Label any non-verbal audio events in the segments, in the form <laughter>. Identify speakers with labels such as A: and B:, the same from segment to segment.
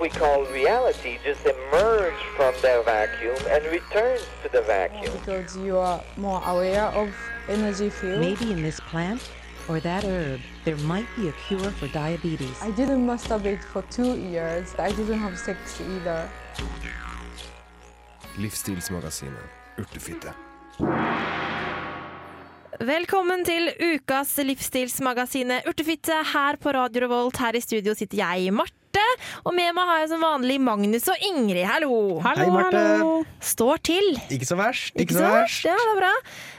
A: we call reality just emerge from their vacuum and returns to the vacuum.
B: because you are more aware of energy field.
C: Maybe in this plant or that herb, there might be a cure for diabetes.
B: I didn't masturbate for two years. I didn't have sex either.
D: Livsstilsmagasinet Urtefitte.
E: Velkommen til ukas livsstilsmagasinet Urtefitte. Her på Radio Revolt, her i studio sitter jeg, Marte. Og med meg har jeg som vanlig Magnus og Ingrid. Hallo!
F: Hei, Marte.
E: Står til.
F: Ikke så verst.
E: Ikke så verst? Ja, det er bra.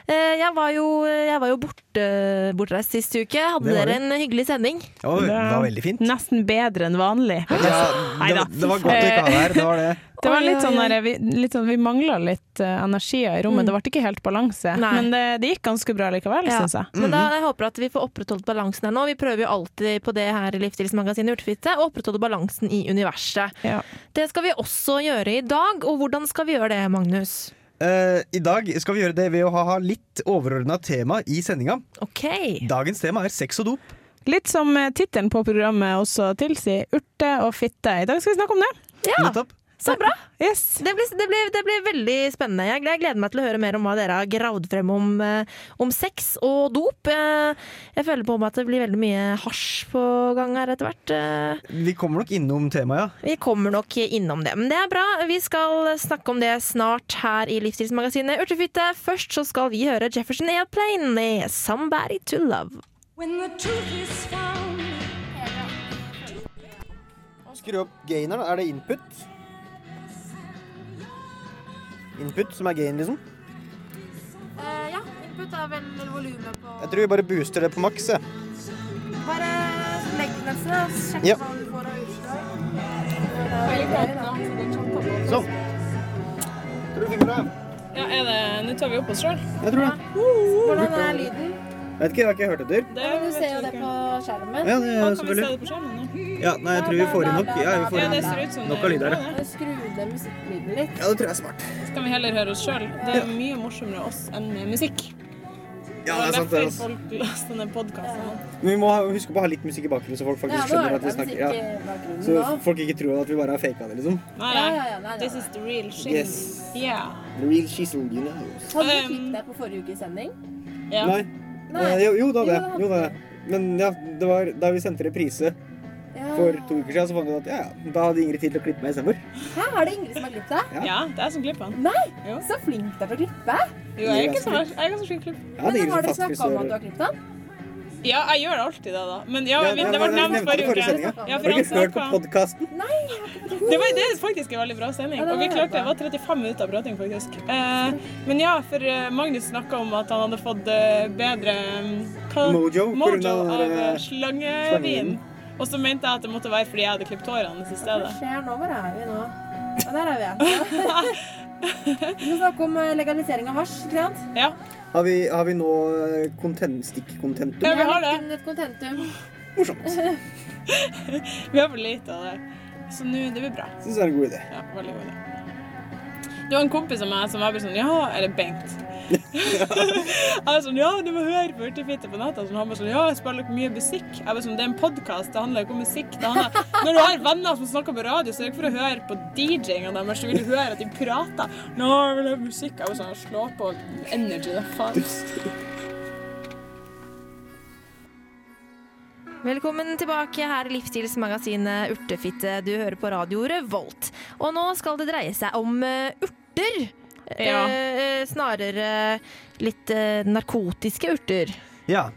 E: Eh, Jeg var jo, jeg var jo borte, bortreist sist uke. Hadde
F: Det var
E: dere en hyggelig sending?
F: Det var, det var veldig fint.
G: Nesten bedre enn vanlig.
F: Ja, det,
G: Neida.
F: det var godt å ikke ha deg her. Det var det.
G: Det var
E: Oi,
G: litt
E: oi,
G: sånn
E: oi.
G: der, vi, litt sånn, vi mangla litt eh, energier i rommet.
H: Mm.
G: Det ble ikke helt balanse.
E: Nei.
G: Men det, det gikk ganske bra likevel,
E: Ja.
G: syns jeg.
E: Men
F: Mhm.
E: da jeg håper at vi får opprettholdt balansen her nå. Vi prøver jo alltid på det her i Livsstilsmagasinet Urtefitte, å opprettholde balansen i universet.
G: Ja.
E: Det skal vi også gjøre i dag. Og hvordan skal vi gjøre det, Magnus?
F: Eh, I dag skal vi gjøre det ved å ha ha litt overordna tema i sendinga.
E: OK.
F: Dagens tema er sex og dop.
G: Litt som eh, tittelen på programmet også tilsier, urte og fitte. I dag skal vi snakke om det.
E: Ja,
F: Nettopp.
E: så bra.
G: Yes.
E: Det blir, det, blir, det blir veldig spennende. Jeg gleder, jeg gleder meg til å høre mer om hva dere har gravd frem om, eh, om sex og dop. Eh, Jeg føler på meg at det blir veldig mye hasj på gang her etter hvert. Eh,
F: Vi kommer nok innom temaet, ja.
E: Vi kommer nok innom det. Men det er bra. Vi skal snakke om det snart her i Livsstilsmagasinet Urtefitte. Først så skal vi høre Jefferson Airplane med 'Somebody to Love'.
F: Skru opp gaineren. Er det input? Input som er gain, liksom?
H: Eh, ja, input er vel volumet på
F: Jeg tror vi bare booster det på maks.
H: Bare legg den et sted, og sjekk
F: Ja.
H: hva du får av utslag.
F: Sånn. Tror du funker bra?
G: Ja, Nå tar vi opp oss sjøl.
F: Jeg tror Oh, det.
H: Hvordan er lyden?
F: Vet ikke, jeg har ikke hørt etter.
H: Du ser jo det på
F: Ja,
H: skjermen.
F: det er selvfølgelig.
G: det på skjermen nå?
F: Ja, nei, jeg tror vi får i nok. Ja, vi får i nok.
G: ut som
F: Nok av lyd her, ja.
H: Skru ned musikklyden litt.
F: Ja, det tror jeg er smart.
G: Så kan vi heller høre oss sjøl. Det er mye morsommere oss enn med musikk.
F: Ja, det er sant, det. altså.
G: folk laster ned podkasten.
F: Men vi må ha, huske på å ha litt musikk i bakgrunnen, så folk faktisk
H: Ja, nå
F: skjønner
H: er
F: at vi
H: det musikk eh,
F: snakker.
H: i
F: Ja.
H: bakgrunnen
F: Så
H: nå.
F: folk ikke tror at vi bare har faka det, liksom.
G: Nei,
H: Ja, ja, ja, nei, nei, nei.
G: the real shit.
F: Yes.
G: Yeah.
F: The real shizzle, you know.
H: Hadde du
G: Um,
H: klippet deg på forrige ukes sending?
G: Ja.
F: Nei.
H: Nei.
F: Ehm. Eh, Jo, jo da, det.
H: Jo, det
F: Jo, da. Men ja, det var da vi sendte reprise
H: Ja.
F: for to uker siden, så fant vi ut at ja, ja, da hadde Ingrid tid til å klippe meg istedenfor.
H: Hæ, er det Ingrid som har klippet deg?
G: Ja, det er som klipper han.
H: Nei, så flink du er til å klippe.
G: Jo, jeg er ikke så verst. Jeg er ganske flink klipp.
F: Ja,
H: Men
F: det er Ingrid
H: har dere
F: som faktisk
H: snakket om at
F: gjør-
H: du har klippet den?
G: Ja, jeg gjør alltid det, da. Men ja,
F: Ja,
G: vi-
F: ja,
G: det ble
F: vi
G: nevnt
F: nevnte
G: forrige
F: det forrige
G: uke.
F: sendinga.
G: Ja, for
F: Har du
G: han
F: ikke hørt på
G: snakket-
F: podkasten?
G: det var det er faktisk en veldig bra sending,
H: Ja, det
G: og vi
H: var
G: klarte
H: bra.
G: det var 35 minutter av prating, faktisk. Eh, men ja, for eh, Magnus snakka om at han hadde fått eh, bedre mm, hva-
F: Mojo på grunn
G: mojo
F: av den
G: av
F: der,
G: eh,
F: eh,
G: slangevin.
F: slangevinen.
G: Og så mente jeg at det måtte være fordi jeg hadde klippet hårene hans i
H: Hva
G: stedet.
H: skjer nå? Hvor er vi nå? Ja, der er
G: <laughs>
H: vi. Vi skal snakke om eh, legalisering av hasj, ikke sant?
G: Ja.
F: Har vi, har vi nå eh, content- stikk-contentum?
G: Ja, vi
H: Jeg
G: har
H: har
G: det.
H: lagt inn et kontentum.
F: Morsomt.
G: Vi har for lite av det. Så nå, det blir bra.
F: Syns det er en god idé.
G: Ja, veldig god idé. Det var en kompis av meg som var bare sånn Ja, eller Bengt. jeg var sånn Ja, du må høre på Hurtigfitte på nettet. Sånn, han bare sånn Ja, jeg spiller mye musikk. Jeg bare sånn Det er en podkast, det handler ikke om musikk. Det handler Når du har venner som snakker på radio, så er det ikke for å høre på DJ-inga deres, så vil du høre at de prater. Nå jeg vil høre musikk. Jeg var sånn Slå på energy, da faen.
E: Velkommen tilbake her i Livsstilsmagasinet Urtefitte. Du hører på radio Revolt. Og nå skal det dreie seg om eh, urter.
G: Ja.
E: Eh, eh, snarere litt eh, narkotiske urter.
F: Ja.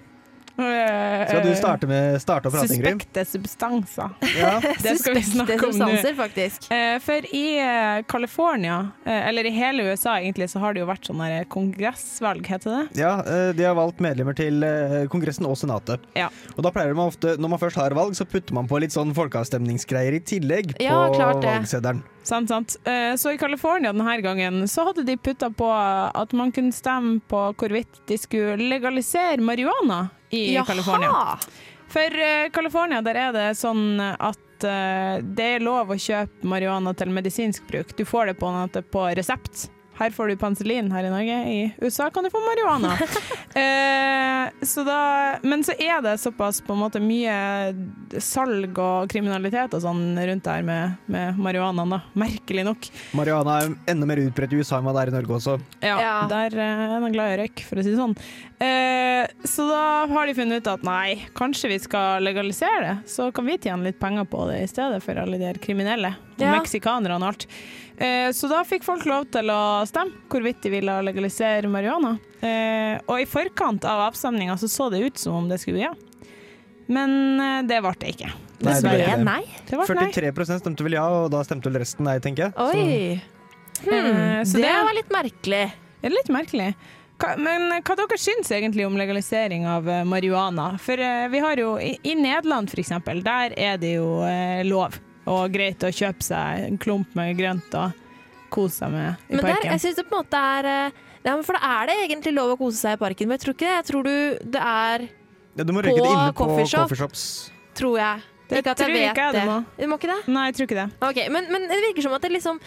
F: Skal du starte, med, starte å prate, Ingrid?
G: Suspekte substanser.
H: <laughs>
F: Ja.
G: Det skal vi snakke om nå.
E: substanser, faktisk.
G: Eh, For i eh, California, eh, eller i hele USA egentlig, så har det jo vært sånn der kongressvalg, heter det?
F: Ja, eh, de har valgt medlemmer til eh, Kongressen og Senatet.
G: Ja.
F: Og da pleier man ofte, når man først har valg, så putter man på litt sånn folkeavstemningsgreier i tillegg på
E: Ja, klart det.
F: valgseddelen.
G: Sant, sant. Eh, Så i California denne gangen så hadde de putta på at man kunne stemme på hvorvidt de skulle legalisere marihuana i California. For eh, California der er det sånn at eh, det er lov å kjøpe marihuana til medisinsk bruk. Du får det på, en måte på resept Her får du penicillin her i Norge. I USA kan du få marihuana. eh, så da, men så er det såpass på en måte mye salg og kriminalitet og sånn rundt der med, med marihuanaen, da. Merkelig nok.
F: Marihuana er enda mer utbredt i USA enn hva det er i Norge også.
G: Ja,
E: Ja.
G: Der eh, er man glad i røyk, for å si det sånn. Eh, så da har de funnet ut at nei, kanskje vi skal legalisere det. Så kan vi tjene litt penger på det i stedet for alle de her kriminelle. Og
E: Ja.
G: meksikanerne og alt. Eh, så da fikk folk lov til å stemme hvorvidt de ville legalisere marihuana. Eh, og i forkant av avstemninga så så det ut som om det skulle bli ja. Men eh, det ble det ikke.
F: Nei, det ble
E: Dessverre.
F: det.
E: Nei.
G: Det ble nei.
F: 43 stemte vel ja, og da stemte vel resten nei, tenker jeg.
E: Oi.
G: Eh,
E: Hmm.
G: så
E: Det
G: det-
E: var litt merkelig.
G: Det er litt merkelig. Hva, men eh, hva dere syns egentlig om legalisering av eh, marihuana? For eh, vi har jo i, i Nederland f.eks., der er det jo eh, lov og greit å kjøpe seg en klump med grønt og kose seg med i
E: Men der,
G: parken.
E: jeg synes det på en måte er eh, ja, men For da er det egentlig lov å kose seg i parken, men jeg tror ikke det. Jeg tror du det er
F: Ja, du må
E: På
F: røyke det inne på
E: coffeeshop.
F: coffeeshops.
E: Tror jeg.
G: Det
E: ikke at jeg
G: tror
E: vet
G: ikke jeg det
E: det.
G: må.
E: Du må ikke det?
G: Nei, jeg tror ikke det.
E: Ok, men, men det virker som at det, liksom,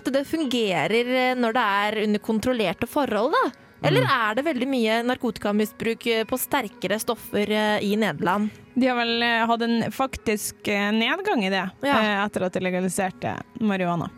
E: at det fungerer eh, når det er under kontrollerte forhold, da. Eller
G: Mm.
E: er det veldig mye narkotikamisbruk eh, på sterkere stoffer eh, i Nederland?
G: De har vel eh, hatt en faktisk eh, nedgang i det
E: Ja.
G: eh, etter at de legaliserte marihuana.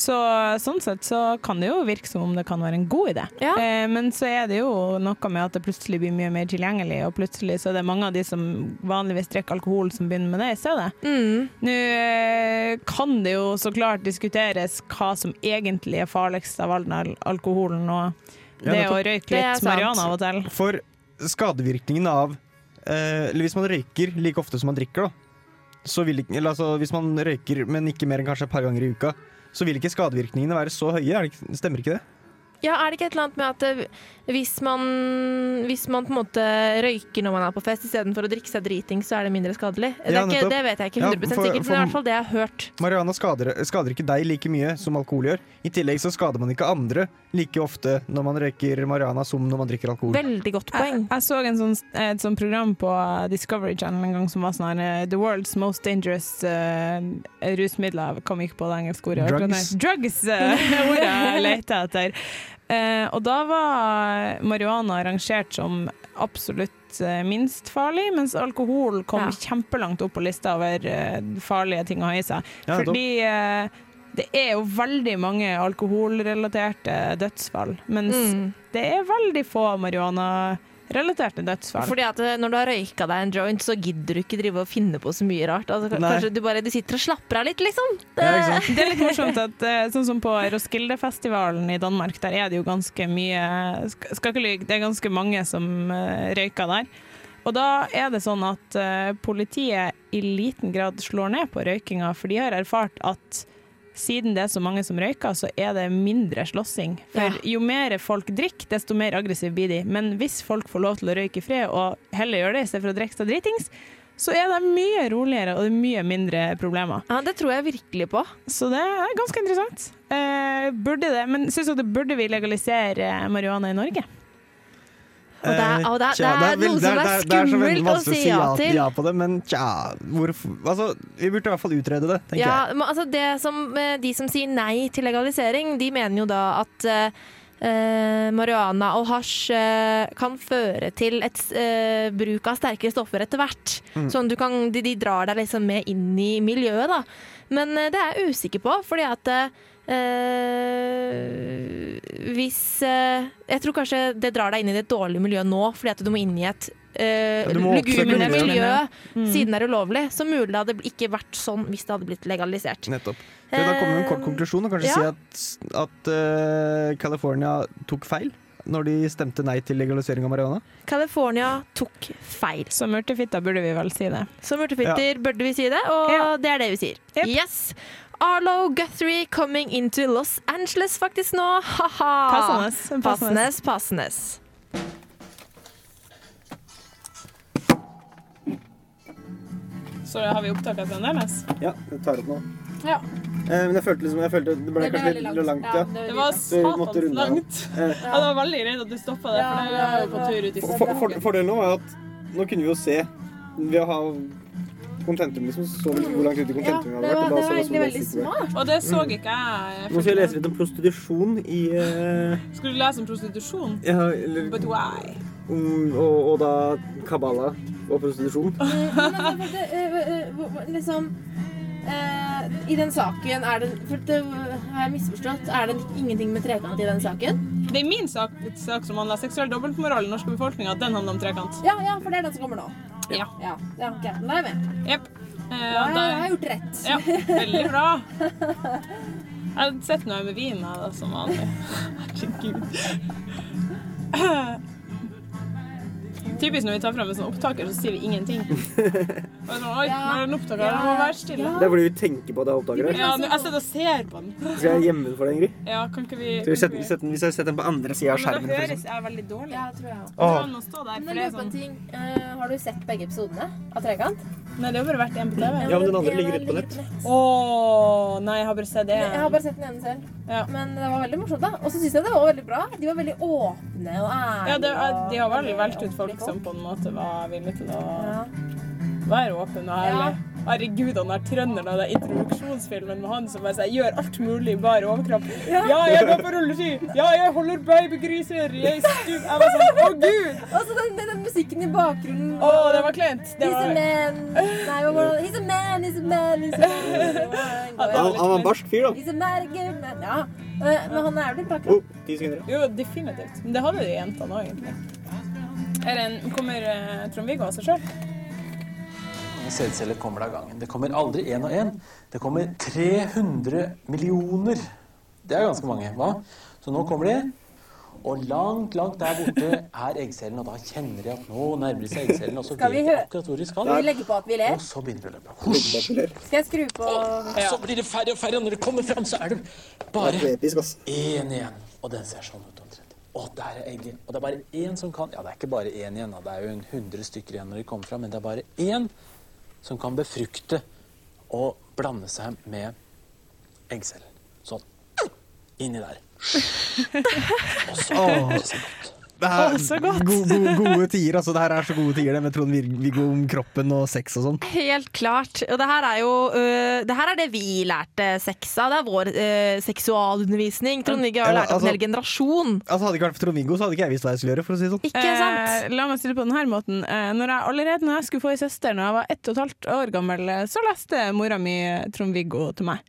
G: Så sånn sett så kan det jo virke som om det kan være en god idé.
E: Ja.
G: Eh, men så er det jo noe med at det plutselig blir mye mer tilgjengelig, og plutselig så er det mange av de som vanligvis drikker alkohol, som begynner med det i stedet.
E: Mm.
G: Nå eh, kan det jo så klart diskuteres hva som egentlig er farligst av all den al- alkoholen, og
F: Ja,
G: det
F: nettopp.
G: å røyke
E: Det er
G: litt
E: sant.
G: marihuana av og til.
F: For skadevirkningen av eh, Eller hvis man røyker like ofte som man drikker, da. Så vil ikke, eller altså, hvis man røyker, men ikke mer enn kanskje et par ganger i uka, så vil ikke skadevirkningene være så høye. Er det, ikke- stemmer ikke det?
E: Ja, er det ikke et eller annet med at eh, hvis man, hvis man på en måte røyker når man er på fest, istedenfor å drikke seg driting, så er det mindre skadelig? Det,
F: Ja,
E: er ikke,
F: nettopp.
E: det vet jeg ikke
F: Ja,
E: 100
F: for-
E: sikkert, men det er i hvert fall det jeg har hørt.
F: Marihuana skader, skader ikke deg like mye som alkohol gjør. I tillegg så skader man ikke andre like ofte når man røyker marihuana som når man drikker alkohol.
E: Veldig godt poeng.
G: Jeg, jeg så en sånn, et sånt program på eh, Discovery Channel en gang som var sånn her eh, The World's Most Dangerous eh, Rusmidler. Jeg kom ikke på det engelske ordet.
F: Drugs.
G: Drugs eh, <laughs> ordet jeg lette etter. Eh, og da var marihuana rangert som absolutt eh, minst farlig, mens alkohol kom
E: Ja.
G: kjempelangt opp på lista over eh, farlige ting å ha i seg.
F: Ja, nettopp.
G: Fordi eh, det er jo veldig mange alkoholrelaterte dødsfall, mens
E: Mm.
G: det er veldig få marihuana-relaterte dødsfall.
E: Fordi at eh, når du har røyka deg en joint, så gidder du ikke drive og finne på så mye rart. Altså, ka-
F: Nei.
E: kanskje du bare du sitter og slapper av litt, liksom. Det,
F: Ja, ikke sant?
G: Det er litt morsomt at eh, sånn som på Roskilde-festivalen i Danmark, der er det jo ganske mye sk- Skal ikke lyve, det er ganske mange som eh, røyker der. Og da er det sånn at eh, politiet i liten grad slår ned på røykinga, for de har erfart at siden det er så mange som røyker, så er det mindre slåssing. For jo mer folk drikker, desto mer aggressive blir de. Men hvis folk får lov til å røyke i fred, og heller gjør det istedenfor å drikke seg dritings, så er det mye roligere og det er mye mindre problemer.
E: ja, det tror jeg virkelig på.
G: Så det er ganske interessant. Eh, burde det, men syns dere burde vi legalisere marihuana i Norge?
E: Og det
F: Eh,
E: er- og det er- det er noe som er skummelt å si ja til.
F: Ja på det, men tja, hvorfor Altså, vi burde i hvert fall utrede det, tenker
E: Ja, men altså det som, eh, de som sier nei til legalisering, de mener jo da at eh, eh, marihuana og hasj eh, kan føre til et eh, bruk av sterkere stoffer etter hvert.
F: Mm.
E: Sånn du kan, de, de drar deg liksom med inn i miljøet, da. Men eh, det er jeg usikker på, fordi at eh, hvis eh, Jeg tror kanskje det drar deg inn i det dårlige miljøet nå, fordi at du må inn i et eh,
F: Ja, du må oppsøke
E: lugubert miljø
F: miljøet.
G: Mm.
E: siden det er ulovlig. Så mulig det hadde ikke vært sånn hvis det hadde blitt legalisert.
F: jeg. Nettopp. For da kommer jo en kort
E: Eh,
F: konklusjon og kanskje
E: ja.
F: si at, at eh, California tok feil når de stemte nei til legalisering av marihuana.
E: California tok feil.
G: Som urtefitta burde vi vel si det.
E: Som urtefitter burde vi si det, og
G: Ja.
E: det er det vi sier.
G: Jep.
E: Yes! Arlo Guthrie coming into Los Angeles faktisk nå. Ha-ha!
G: Passende. Passende.
E: Passenes, passenes.
G: Så har vi opptaket fremdeles?
F: Ja, jeg tar opp nå.
G: Ja.
F: men jeg følte liksom det ble
H: kanskje litt veldig langt. langt, ja.
G: Det var
F: Vi måtte
G: satans
F: runde av.
G: langt. Jeg var veldig redd at du stoppa det, for det er jo på tur ut i
F: fordelen nå var at nå kunne vi jo se ved å ha
I: kontentum, liksom. Så så vi ikke hvor langt ute i
H: Ja,
I: kontentum vi hadde
H: det
I: vært. og
H: var,
I: da
H: det
I: så
H: var
I: vi oss
H: egentlig veldig
I: som bare
H: smart.
G: Og det så ikke jeg.
I: Nå skal jeg lese litt om prostitusjon i eh,
G: Skulle du lese om prostitusjon?
I: ja, eller,
G: But why?
I: mm, og, og da kabbala og prostitusjon.
H: Men altså, for det, eh, eh, hvor- hvor- liksom eh, I den saken er det For det har jeg misforstått. Er det ingenting med trekant i den saken?
G: Det er min sak, sak som handler om seksuell dobbeltmoral i den norske befolkninga. Den handler om trekant.
H: Ja, ja, for det er den som kommer nå.
G: Ja.
H: Ja, ja ok. Da er jeg med.
G: Jepp. Eh,
H: Da
G: og da-
H: har jeg gjort rett.
G: Ja, veldig bra. Jeg hadde sett noe med vin her, da, som vanlig. Herregud. Typisk når vi tar fram en sånn opptaker, så sier vi ingenting. Og sånn, Oi, nå er det en opptaker, jeg må være stille.
I: Det er fordi vi tenker på at det er opptakere.
G: Ja, nå- jeg sitter og ser på den.
I: Skal jeg gjemme den for deg, Ingrid?
G: Ja, kan ikke vi
I: Skal vi sette, sette den, hvis jeg setter den på andre sida av skjermen?
G: Men da
I: for
G: høres
I: eksempel?
G: jeg veldig dårlig.
H: Ja, tror jeg også.
G: Det
F: Åh,
G: går an å stå der, for
H: Men jeg
G: det er
H: lurer på en
G: sånn
H: ting. Eh, har du sett begge episodene av Trekant?
G: Nei, det har bare vært en på TV.
I: Ja, men den andre
H: ene
I: ligger ute på nett.
G: Å, nei, jeg har bare sett det.
H: Jeg har bare sett den ene selv.
G: Ja.
H: Men det var veldig morsomt, da. Og så syns jeg det var veldig bra. De var veldig åpne og ærlige.
G: Ja, det,
H: og
G: de har vel
H: veldig
G: valgt ut folk
H: offentlige
G: som på en måte var villige til å
H: Ja.
G: Vær åpen og ærlig.
H: Ja.
G: Herregud, han der trønderen av den introduksjonsfilmen med han som bare sier 'gjør alt mulig, bare overkropp'. Ja, jeg går på rulleski! Ja, jeg holder babygriser! Jeg stup... Jeg var sånn 'å, gud'!
H: Og så den, den musikken i bakgrunnen.
G: Å, det var kleint. Det
H: He's a
G: var
H: man. Nei, hva var det? He's a man, he's a man, he's a man.
G: <laughs> Ja,
I: Han, han var en barsk fyr, da.
H: He's a man, good man. Ja. Eh, Men han er jo litt bak.
I: Oh, ti sekunder.
G: Jo, definitivt. Men det hadde de jentene òg, egentlig. Er det en, kommer eh, Trond-Viggo av seg sjøl?
J: Sædceller kommer av gangen. Det kommer aldri én og én. Det kommer 300 millioner. Det er ganske mange, hva? Så nå kommer de. Og langt, lanlangt der borte er eggcellene, og da kjenner de at nå nærmer de seg eggcellene. Og så
H: Skal vi
J: vet de
H: hø-
J: akkurat hvor de skal.
H: Skal vi legge på at vi
J: Og
H: ler?
J: så begynner det å løpe. Husj!
H: Skal jeg skru på
J: Og så blir det færre og færre, og når det kommer fram, så er det bare
I: Episk, ass.
J: én igjen. Og den ser sånn ut omtrent. Å, der er egget. Og det er bare én som kan Ja, det er ikke bare én igjen, da. Det er jo en hundre stykker igjen når de kommer fram, men det er bare én som kan befrukte og blande seg med eggcellen. Sånn. Inni der. Og så det ser godt.
F: det er go- go- gode tider, altså. Det her er så gode tider, det med Trond Vir- Viggo om kroppen og sex og sånn.
E: Helt klart. Og det her er jo øh, det her er det vi lærte sex av. Det er vår øh, seksualundervisning. Trond-Viggo har
F: Ja,
E: lært opp en
F: altså-
E: hel generasjon.
F: Altså, hadde det ikke vært for Trond-Viggo, så hadde ikke jeg visst hva jeg skulle gjøre. for å si det sånn.
E: Ikke sant?
G: Eh, la meg stille på denne måten. Eh, når jeg, allerede når jeg skulle få ei søster når jeg var ett og et halvt år gammel, eh, så leste mora mi Trond-Viggo til meg.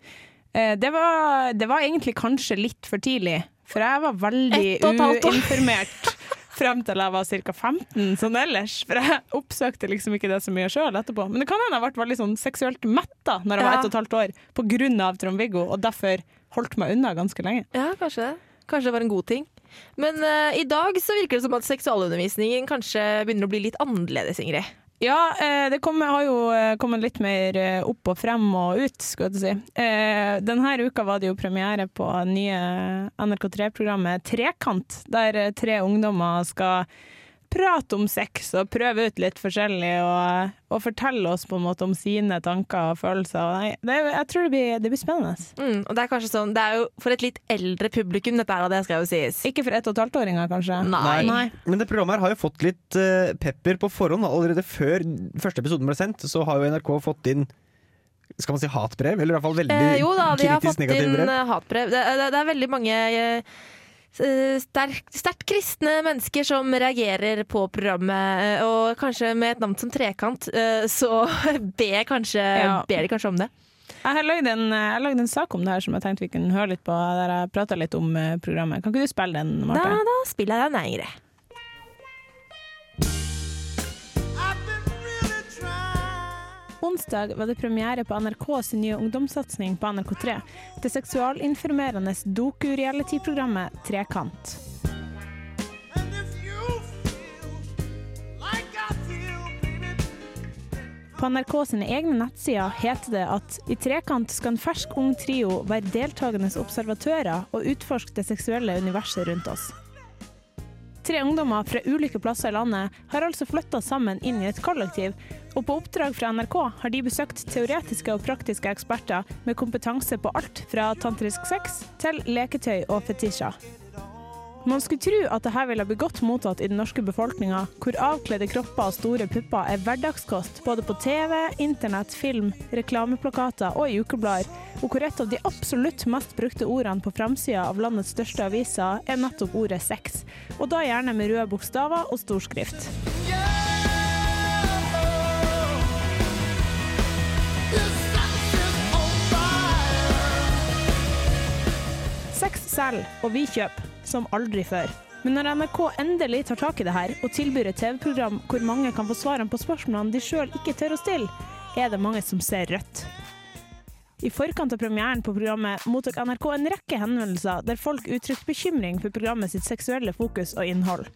G: Eh, det, var, det var egentlig kanskje litt for tidlig, for jeg var veldig
E: Ett og et halvt år.
G: uinformert. Frem til jeg var ca. 15, sånn ellers. For jeg oppsøkte liksom ikke det så mye sjøl etterpå. Men det kan hende jeg ble veldig sånn seksuelt metta når jeg var
E: Ja.
G: ett og et halvt år, på grunn av Trond-Viggo, og derfor holdt meg unna ganske lenge.
E: Ja, kanskje det. Kanskje det var en god ting. Men øh, i dag så virker det som at seksualundervisningen kanskje begynner å bli litt annerledes, Ingrid.
G: Ja, eh, det kommer, har jo eh, kommet litt mer eh, opp og frem og ut, skulle jeg til å si. Eh, Denne uka var det jo premiere på det nye NRK3-programmet Trekant, der eh, tre ungdommer skal prate om sex og prøve ut litt forskjellig og, og fortelle oss på en måte om sine tanker og følelser. Nei, det, jeg tror det blir, det blir spennende.
E: Mm, og det er kanskje sånn, det er jo for et litt eldre publikum dette her, og det skal jo sies.
G: Ikke for ett og et halvt åringer, kanskje?
E: Nei.
G: Nei.
F: Men det programmet her har jo fått litt eh, pepper på forhånd. Allerede før første episoden ble sendt, så har jo NRK fått inn skal man si hatbrev? Eller i hvert fall veldig
E: Eh, jo da, de har
F: kritisk
E: fått
F: negative
E: inn
F: brev.
E: eh, hatbrev. Det, det, det er veldig mange eh, s- sterk- sterkt kristne mennesker som reagerer på programmet. eh, Og kanskje med et navn som Trekant, eh, så <laughs> ber, kanskje,
G: Ja.
E: ber de kanskje om det.
G: Jeg har lagd en, jeg lagde en sak om det her som jeg tenkte vi kunne høre litt på, der jeg prata litt om eh, programmet. Kan ikke du spille den,
E: Da,
G: Marte?
E: da spiller jeg den, jeg, Ingrid.
G: Onsdag var det premiere på NRKs nye ungdomssatsing på NRK3. Det seksualinformerende doku-reality-programmet Trekant. På NRK sine egne nettsider heter det at i Trekant skal en fersk ung trio være deltakende observatører og utforske det seksuelle universet rundt oss. Tre ungdommer fra ulike plasser i landet har altså flytta sammen inn i et kollektiv, og på oppdrag fra NRK har de besøkt teoretiske og praktiske eksperter med kompetanse på alt fra tantrisk sex til leketøy og fetisjer. Man skulle tro at dette ville bli godt mottatt i den norske befolkninga, hvor avkledde kropper og store pupper er hverdagskost både på TV, internett, film, reklameplakater og i ukeblader, og hvor et av de absolutt mest brukte ordene på framsida av landets største aviser er nettopp ordet sex, og da gjerne med røde bokstaver og stor skrift. Sex selger, og vi kjøper, som aldri før. Men når NRK endelig tar tak i det her, og tilbyr et TV-program hvor mange kan få svarene på spørsmålene de sjøl ikke tør å stille, er det mange som ser rødt. I forkant av premieren på programmet mottok NRK en rekke henvendelser der folk uttrykte bekymring for programmet sitt seksuelle fokus og innhold.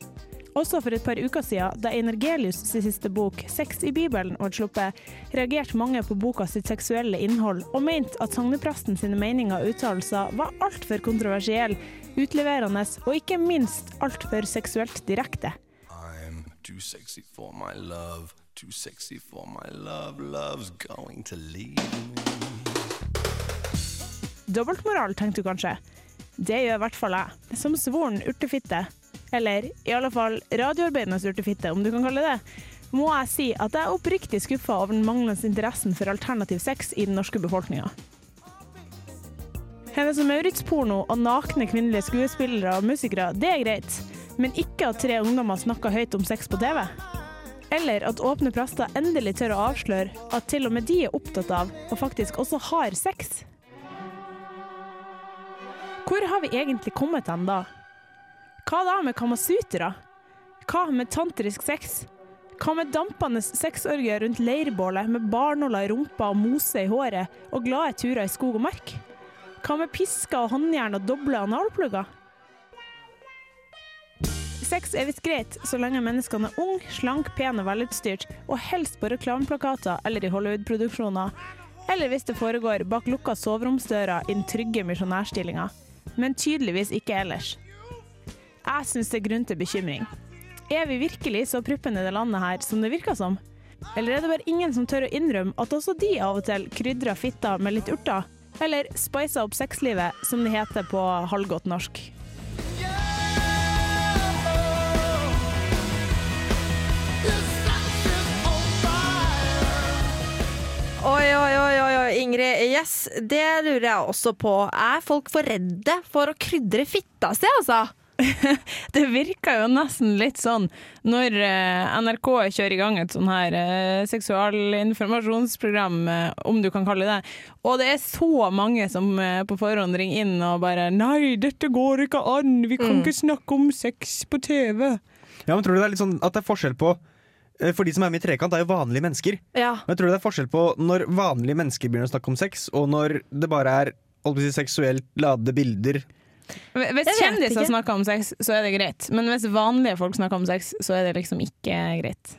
G: Også for et par uker siden, da Einar Gelius' sin siste bok 'Sex i Bibelen' ble sluppet, reagerte mange på boka sitt seksuelle innhold, og mente at sognepresten sine meninger og uttalelser var altfor kontroversielle, utleverende og ikke minst altfor seksuelt direkte.
K: I'm too sexy for my love, too sexy for my love. Love's going to leave me.
G: Dobbeltmoral, tenkte du kanskje. Det gjør i hvert fall jeg, som svoren urtefitte. Eller i alle fall radioarbeidernes urtefitte, om du kan kalle det det. Må jeg si at jeg er oppriktig skuffa over den manglende interessen for alternativ sex i den norske befolkninga. Hennes og Maurits-porno og nakne kvinnelige skuespillere og musikere, det er greit. Men ikke at tre ungdommer snakker høyt om sex på TV. Eller at åpne prester endelig tør å avsløre at til og med de er opptatt av, og faktisk også har, sex. Hvor har vi egentlig kommet hen da? Hva da med kamasutra? Hva med tantrisk sex? Hva med dampende sexorgier rundt leirbålet med barnåler i rumpa og mose i håret og glade turer i skog og mark? Hva med pisker og håndjern og doble analplugger? Sex er visst greit så lenge menneskene er ung, slank, pen og velutstyrt, og helst på reklameplakater eller i Hollywood-produksjoner, eller hvis det foregår bak lukka soveromsdører i den trygge misjonærstillinga. Men tydeligvis ikke ellers. Jeg syns det er grunn til bekymring. Er vi virkelig så pruppen i det landet her som det virker som? Eller er det bare ingen som tør å innrømme at også de av og til krydrer fitta med litt urter? Eller spicer opp sexlivet, som det heter på halvgodt norsk.
E: Oi, oi, oi, oi, oi, Ingrid. Yes, det lurer jeg også på. Er folk for redde for å krydre fitta si, altså?
G: <laughs> Det virker jo nesten litt sånn når eh, NRK kjører i gang et sånn her eh, seksualinformasjonsprogram, eh, om du kan kalle det, og det er så mange som eh, på forhånd ringer inn og bare 'Nei, dette går ikke an, vi kan ikke snakke om sex på TV'.
F: Ja, men tror du det er litt sånn at det er forskjell på eh, For de som er med i Trekant, det er jo vanlige mennesker.
E: Ja.
F: Men jeg tror det er forskjell på når vanlige mennesker begynner å snakke om sex, og når det bare er holdt på å si, seksuelt ladede bilder.
G: Hvis
E: Jeg vet
G: kjendiser
E: ikke.
G: snakker om sex, så er det greit, men hvis vanlige folk snakker om sex, så er det liksom ikke greit.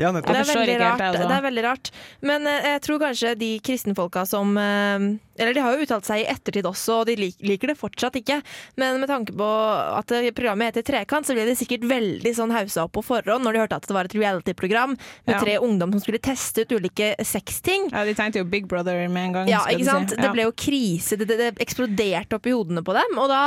F: Ja,
E: Det er,
F: nettopp.
G: Jeg forstår
E: veldig
G: ikke helt
E: rart,
G: det, altså.
E: det er veldig rart. Men eh, jeg tror kanskje de kristenfolka som eh, Eller de har jo uttalt seg i ettertid også, og de lik, liker det fortsatt ikke. Men med tanke på at eh, programmet heter Trekant, så ble de sikkert veldig sånn hausa opp på forhånd når de hørte at det var et reality-program med
G: Ja.
E: tre ungdom som skulle teste ut ulike sexting.
G: Ja, De tenkte jo Big Brother med en gang.
E: Ja,
G: skal du
E: ikke
G: si.
E: sant? Det
G: Ja.
E: ble jo krise. Det, det, det eksploderte opp i hodene på dem. Og, da,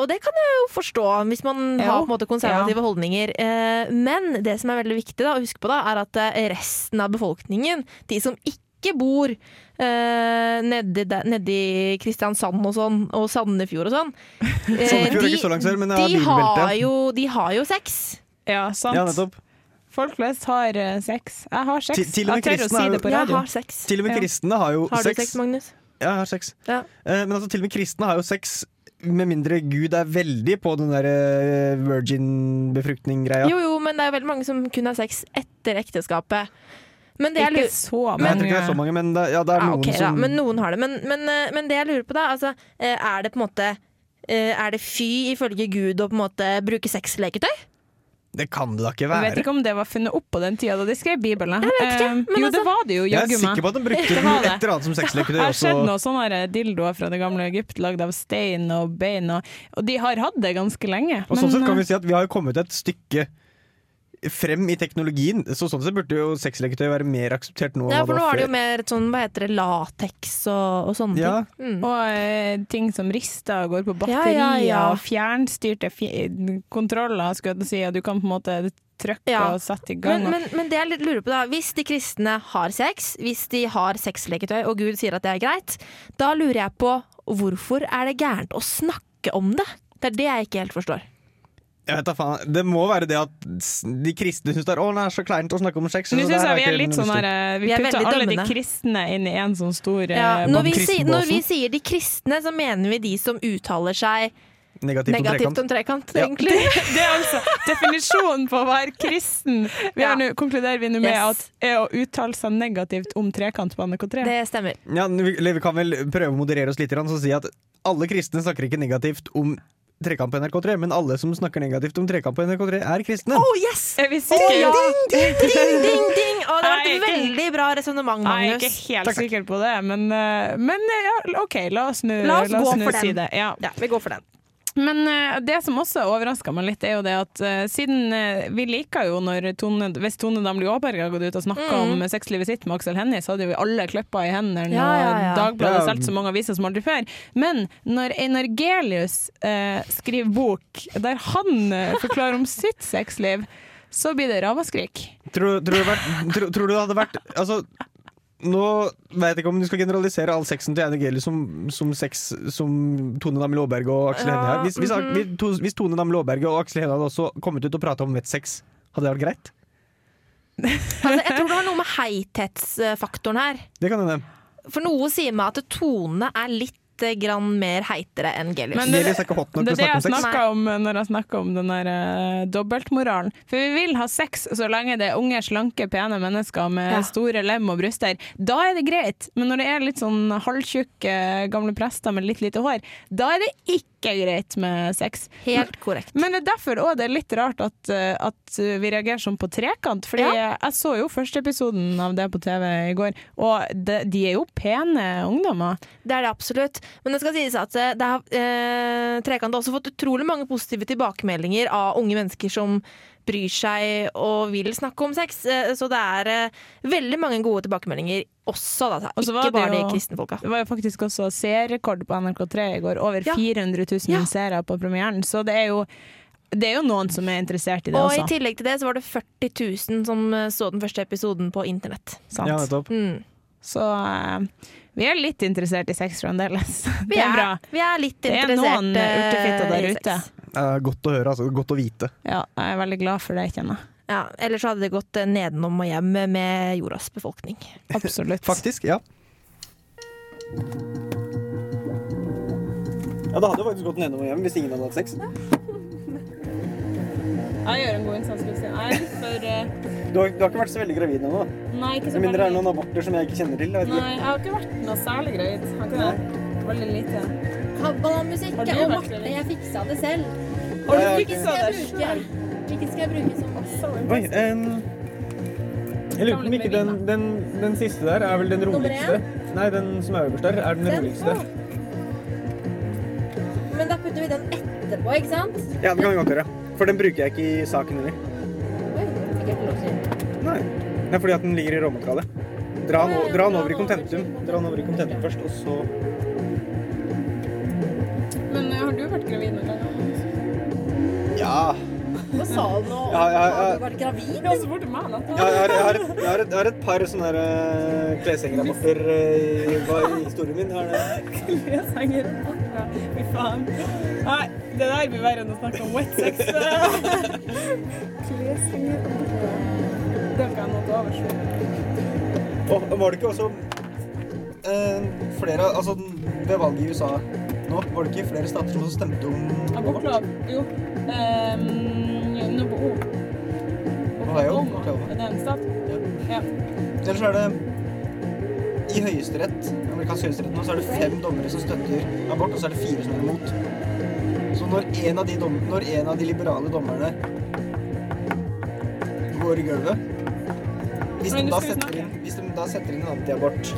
E: og det kan jeg jo forstå, hvis man har på en måte konservative holdninger. Eh, Men det som er veldig viktig da, å huske på, da, er at eh, resten av befolkningen, de som ikke bor eh, nedi, der- nedi Kristiansand og sånn, og Sandefjord og
F: <laughs>
E: sånn eh,
F: Sandefjord er
E: de-
F: ikke så langt sør, men det er
E: de har,
F: bilbelte.
E: jo, de har jo sex.
G: Ja, sant.
F: Ja, nettopp.
G: Folk flest har eh, sex. Jeg har sex.
F: Til- til og med
G: jeg tør å
F: kristne
G: si
F: er jo-
G: det på
E: Jeg
G: radio.
E: har sex.
F: Til og med
G: Ja.
F: kristne har jo
E: Har du
F: sex.
E: sex, Magnus?
F: Ja, jeg har sex.
E: Ja.
F: Eh, Men altså, til og med kristne har jo sex, med mindre Gud er veldig på den der eh, virgin-befruktning-greia.
E: Jo, jo, men det er veldig mange som kun har sex etter ekteskapet. Men det jeg
G: Ikke
E: lurer-
F: Nei, Jeg tror
G: så mange.
F: ikke det er så mange, men det, ja, det er
E: Ja,
F: noen
E: ok, da,
F: som
E: men noen har det. Men, men, eh, men det jeg lurer på, da altså, eh, Er det på en måte eh, Er det fy ifølge Gud å på en måte bruke sexleketøy?
F: Det kan det da ikke
G: Jeg vet
F: være.
G: ikke om det var funnet opp på den tida da de skrev Bibelen.
E: ikke,
G: Eh,
E: men
G: jo,
E: altså-
G: det var det jo,
F: Jeg er
G: jaggu meg.
F: sikker på at de brukte
G: Det var
F: et
G: det.
F: eller annet som sexleketøy
G: Jeg har
F: også.
G: sett noen sånne her eh, dildoer fra det gamle Egypt lagd av stein og bein, og, og de har hatt det ganske lenge.
F: Og sånn
G: men,
F: sett kan
G: eh,
F: vi si at vi har jo kommet et stykke frem i teknologien, så sånn sett burde jo sexleketøy være mer akseptert nå. enn
E: Ja,
F: hva
E: for nå
F: var
E: er det
F: før.
E: jo mer et sånn, hva heter det, lateks og, og sånne
F: Ja.
E: ting. Mm.
G: Og eh, ting som rister og går på batterier,
E: Ja, ja, ja.
G: og fjernstyrte fj kontroller, skulle jeg til å si, og du kan på en måte trykke
E: Ja.
G: og sette i gang.
E: Men, men, men det jeg litt lurer på da Hvis de kristne har sex, hvis de har sexleketøy og Gud sier at det er greit, da lurer jeg på hvorfor er det gærent å snakke om det? Det er det jeg ikke helt forstår.
F: Jeg vet da faen, Det må være det at s- de kristne syns det er Å, det er så kleint å snakke om sex.
G: Nå
F: så
G: syns
F: der
G: jeg vi
F: ikke
G: er litt
F: noe
G: sånn her
F: lyst
G: eh, Vi
E: Vi er
G: putter
E: veldig
G: alle de
E: dømmende.
G: kristne inn i en sånn stor eh,
E: når, vi
F: Kristen
E: sier, når vi
F: Båsen.
E: sier de kristne, så mener vi de som uttaler seg
F: til. Negativt, om
E: negativt
F: trekant.
E: om trekant,
F: Ja.
E: egentlig.
G: Det er altså definisjonen på å være kristen. Vi
E: Ja.
G: har nå- konkluderer vi nå med at
E: Yes.
G: er å uttale seg negativt om trekant på NRK3.
E: Det stemmer.
F: Ja, vi, eller vi kan vel prøve å moderere oss litt grann, så si at alle kristne snakker ikke negativt om Trekamp på NRK3, men alle som snakker negativt om Trekamp på NRK3, er kristne.
E: Oh yes!
G: er vi sikre?
E: Ding, ding, ding, ding, ding! Å, det var
G: Nei,
E: et
G: ikke-
E: veldig bra resonnement,
G: Nei, jeg er
E: Magnus.
G: ikke helt sikker på det, men, eh, men eh, ja, OK, la oss nå
E: La oss gå
G: nå
E: for den.
G: si det. Ja.
E: Ja, vi går for den.
G: Men eh, det som også overraska meg litt, er jo det at eh, siden eh, vi liker jo når Tone, hvis Tone Damli Aaberg har gått ut og snakka om sexlivet sitt med Aksel Hennie, så hadde jo vi alle kløppa i hendene,
E: Mm. Ja, ja, ja.
G: og
F: Ja.
G: Dagbladet solgte så mange aviser som aldri før. Men når Einar Gelius eh, skriver bok der han eh, forklarer om sitt sexliv, så blir det ramaskrik.
F: Tror, tror, det vært, tror, tror du det hadde vært Altså, nå vet jeg ikke om du skal generalisere all sexen til Einar Gelius som, som sex som Tone Damli Aaberg og Aksel Hennie har. Hvis, hvis,
G: mhm.
F: hvis, to- hvis Tone Damli Aaberg og Aksel Hennie hadde også kommet ut og prata om vettsex, hadde det vært greit?
E: Altså, jeg tror det har noe med heithetsfaktoren her.
F: Det kan hende.
E: For noe sier meg at Tone er litt eh, grann mer heitere enn Gelius.
G: Men det-
F: Gelius er ikke hot nok
G: Det
F: til
G: er
F: å
G: det
F: snakke
G: jeg
F: om sex.
G: snakka om eh, når jeg snakka om den der eh, dobbeltmoralen. For vi vil ha sex så lenge det er unge, slanke, pene mennesker med
E: Ja.
G: store lem og bryster. Da er det greit, men når det er litt sånn halvtjukke eh, gamle prester med litt lite hår, da er det ikke greit med sex.
E: Helt korrekt.
G: Men det er derfor òg det er litt rart at, eh, at vi reagerer sånn på trekant. Fordi eh,
E: Ja.
G: jeg så jo første episoden av det på TV i går, og de, de er jo pene ungdommer.
E: Det er det absolutt. Men det skal sies at eh, det har, eh, Trekant har også fått utrolig mange positive tilbakemeldinger av unge mennesker som bryr seg og vil snakke om sex. Eh, så det er eh, veldig mange gode tilbakemeldinger også, da.
G: Og så var
E: Ikke bare
G: det
E: de
G: jo-
E: kristne folka.
G: Det var jo faktisk også seerrekord på NRK3 i går. Over
E: Ja.
G: 400 000
E: Ja.
G: seere på premieren, så det er, jo, det er jo noen som er interessert i det
E: Og i
G: også.
E: tillegg til det så var det 40 000 som eh, så den første episoden på internett.
G: Sant?
F: Ja, nettopp.
E: Mm.
G: Så eh, vi er litt interessert i sex fremdeles. <laughs>
E: Vi,
G: Det er bra.
E: er, vi er litt
G: Det er
E: interessert
G: noen
E: eh,
G: urtefitter der
E: i
G: ute.
E: sex.
F: Eh, godt å høre, altså. Godt å vite.
G: Ja, jeg er veldig glad for det, kjenner jeg.
E: Ja, ellers så hadde det gått eh, nedenom og hjem med jordas befolkning.
G: Absolutt.
F: Faktisk, ja. Ja, det hadde faktisk gått nedover hjem hvis ingen hadde hatt sex.
G: Jeg gjør en god innsats, Kristin. Jeg er litt for eh,
F: Du har, ikke vært så veldig gravid ennå.
G: Nei, ikke
F: Med mindre det er noen aborter som jeg ikke kjenner til.
G: jeg har ikke vært noe særlig greit. Har ikke det? Veldig lite.
H: Kabbalmusikk
G: Har du
H: og
G: vært
H: Marte.
G: gravid?
H: Jeg fiksa det selv.
G: Har
F: Ja,
G: du
F: ok.
G: fiksa
H: Skal
G: det
H: jeg bruke-
G: sjøl?
H: Hvilken skal jeg bruke som
F: Oi, em, jeg lurer på om ikke den, den, den siste der er vel den
H: Nummer
F: roligste. Nei, den som er øverst der, er den
H: Den?
F: roligste.
H: Men da putter vi den etterpå, ikke sant?
F: Ja, det kan vi godt gjøre. For den bruker jeg ikke i saken heller.
H: Oi, fikk jeg ikke lov til.
F: Nei. Det er fordi at den ligger i råmaterialet. Dra, den o- dra den over i contentum. Dra den over i contentum først, og så
G: Men eh, har du vært gravid noen gang?
F: Ja.
H: Hva sa du nå?
F: Ja, ja, ja.
H: Har du vært gravid?
G: Ja, så fort det meg, da.
F: Jeg har, jeg har, et, jeg har, et, jeg har et par sånne her, eh, kleshengeraborter eh, i, hva- i historien min. Her, det.
G: Lesanger og portra. Fy faen. Nei, det der blir verre enn å snakke om wet
F: <laughs>
G: sex. Lesanger og portra. Det kan jeg nå ta over selv.
F: Og var det ikke også eh, flere Altså, ved valget i USA nå, var det ikke flere stater som også stemte om
G: Abortlov. Jo. Ehm, Noe på O.
F: Ohio?
G: Oklahoma. Er det en stat? Ja.
F: Ellers er det i høyesterett, amerikansk høyesterett nå, så er det fem dommere som støtter abort, og så er det fire som er imot. Så når en av de, dom, når en av de liberale dommerne går i gulvet hvis de,
G: Men nå
F: da setter
G: skal vi snakke.
F: inn, hvis de da setter inn en antiabort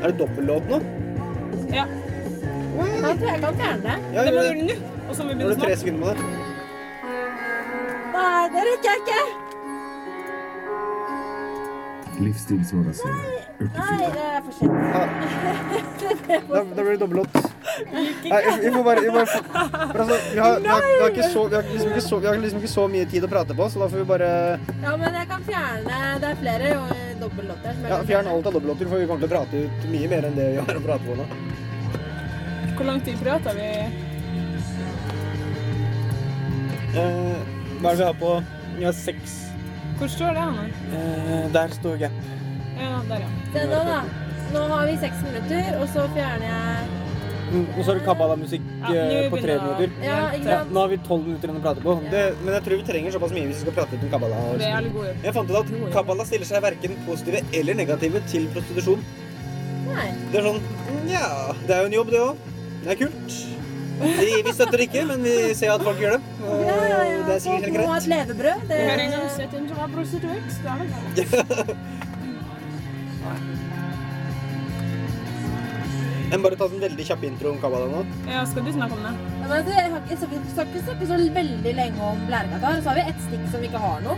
F: Er det dobbeltlov nå?
G: ja.
H: Ja, tror jeg kan fjerne det.
F: Ja,
G: Det
F: gjør
G: må
F: det.
G: du nå, og så må
F: Nå har
G: vi begynne å
F: du tre
G: snakke.
F: sekunder på det.
H: Nei, Det rekker jeg ikke!
D: Livsstilsmagasinet.
H: Nei, det er for sent.
F: Da, da blir det dobbeltlott. Nei, vi- vi må bare, vi, må bare få- for altså, vi, har, vi, har, vi, har ikke så, vi, har liksom ikke så, vi har liksom ikke så mye tid å prate på, så da får vi bare
H: Ja, men jeg kan fjerne Det er flere eh, dobbeltlåter. som jeg
F: ja,
H: kan
F: fjerne alt av dobbeltlåter, for vi kommer til å prate ut mye mer enn det vi har å prate på nå.
G: Hvor lang tid prater vi?
F: Eh, hva er det vi har på? Vi har seks.
G: Hvor står det hen?
F: Eh, der står gap.
G: Ja, der, ja.
H: Se nå, da. Nå har vi seks minutter, og så fjerner jeg
F: Mm, Og så er det kabbala-musikk
G: Ja,
F: eh,
G: nå
F: på tre
G: begynner-
F: minutter.
H: Ja, ikke sant?
F: nå har vi tolv minutter igjen å prate på. Det, men jeg tror vi trenger såpass mye hvis vi skal prate litt om kabbala. og
G: Det er
F: sånt.
G: jævlig god.
F: Jeg fant ut at kabbala stiller seg verken positive eller negative til prostitusjon.
H: Nei.
F: Det er sånn Nja, det er jo en jobb, det òg. Det er kult. Vi, vi støtter det ikke, men vi ser at folk gjør det. Og det er sikkert helt
H: Folk må ha
F: greit.
H: et levebrød. Det
G: Hører ingen sett en som er prostituert. Det er det bra.
F: Jeg må bare ta en veldig kjapp intro om kabbala nå.
G: Ja, skal du snakke om det?
H: Ja, men altså, jeg har ikke, vi skal ikke snakke så veldig lenge om Lærekatar, og så har vi ett stikk som ikke har noe.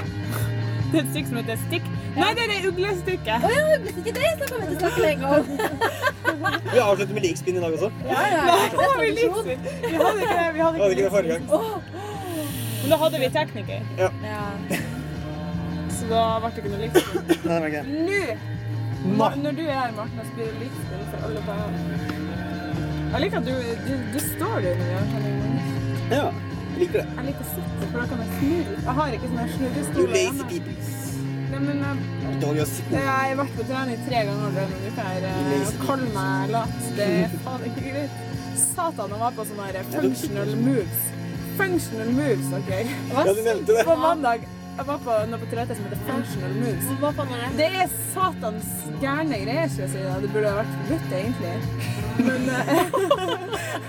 G: Det er et stikk som heter stikk. Nei, det er det uglestykket.
H: Å ja, hvis ikke det, så kommer vi til å snakke lenge om.
F: Vi avslutter med likspinn i dag også.
H: Ja, ja, det
G: Å,
H: er
G: vi liker
H: tradisjon.
G: det. Vi hadde ikke det. Vi hadde
F: Vi hadde ikke
G: ikke
F: det forrige gang.
G: Men da hadde vi tekniker,
H: Ja.
G: så da ble det ikke noe livsstil.
F: Nei, det var ikke det.
G: Nå! Når- Når du er her, Martin, så blir det livsstil for alle barn. Jeg liker at du, du, du står der når vi har kjenning.
F: Ja, jeg liker det.
G: Jeg liker å sitte, for da kan jeg snurre. Jeg har ikke sånne
F: You
G: snurrestoler
F: lazy
G: hjemme.
F: people.
G: Nei, men jeg,
F: Don't just sit
G: jeg har vært på trening tre ganger denne uka her. eh, Og kall meg lat. Det er faen ikke greit. Satan, han var på sånne her functional moves. Functional moves, OK?
F: Ja, du nevnte det.
G: På mandag jeg var på noe på Torettet som heter Functional Moves.
H: <laughs> Hva faen er det?
G: Det er satans gærne greier, skal jeg si. da. Det burde ha vært forbudt, egentlig. Men eh,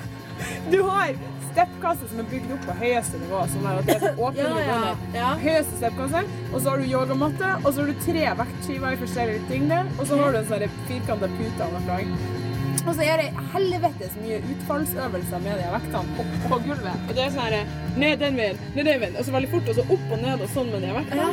G: <laughs> du har steppkasser som er bygd opp på høyeste nivå. Sånn her, at det er så åpne
H: Ja, ja,
G: nivåer.
H: ja.
G: Høyeste steppkasse, og så har du yogamatte, og så har du tre vektskiver i forskjellige ting der, og så har du en sånn firkanta pute av noe slag. Og så er det helvetes mye utfallsøvelser med de vektene opp på gulvet. Og det er sånn her ned den veien, ned den veien, og så veldig fort, og så opp og ned og sånn med de vektene.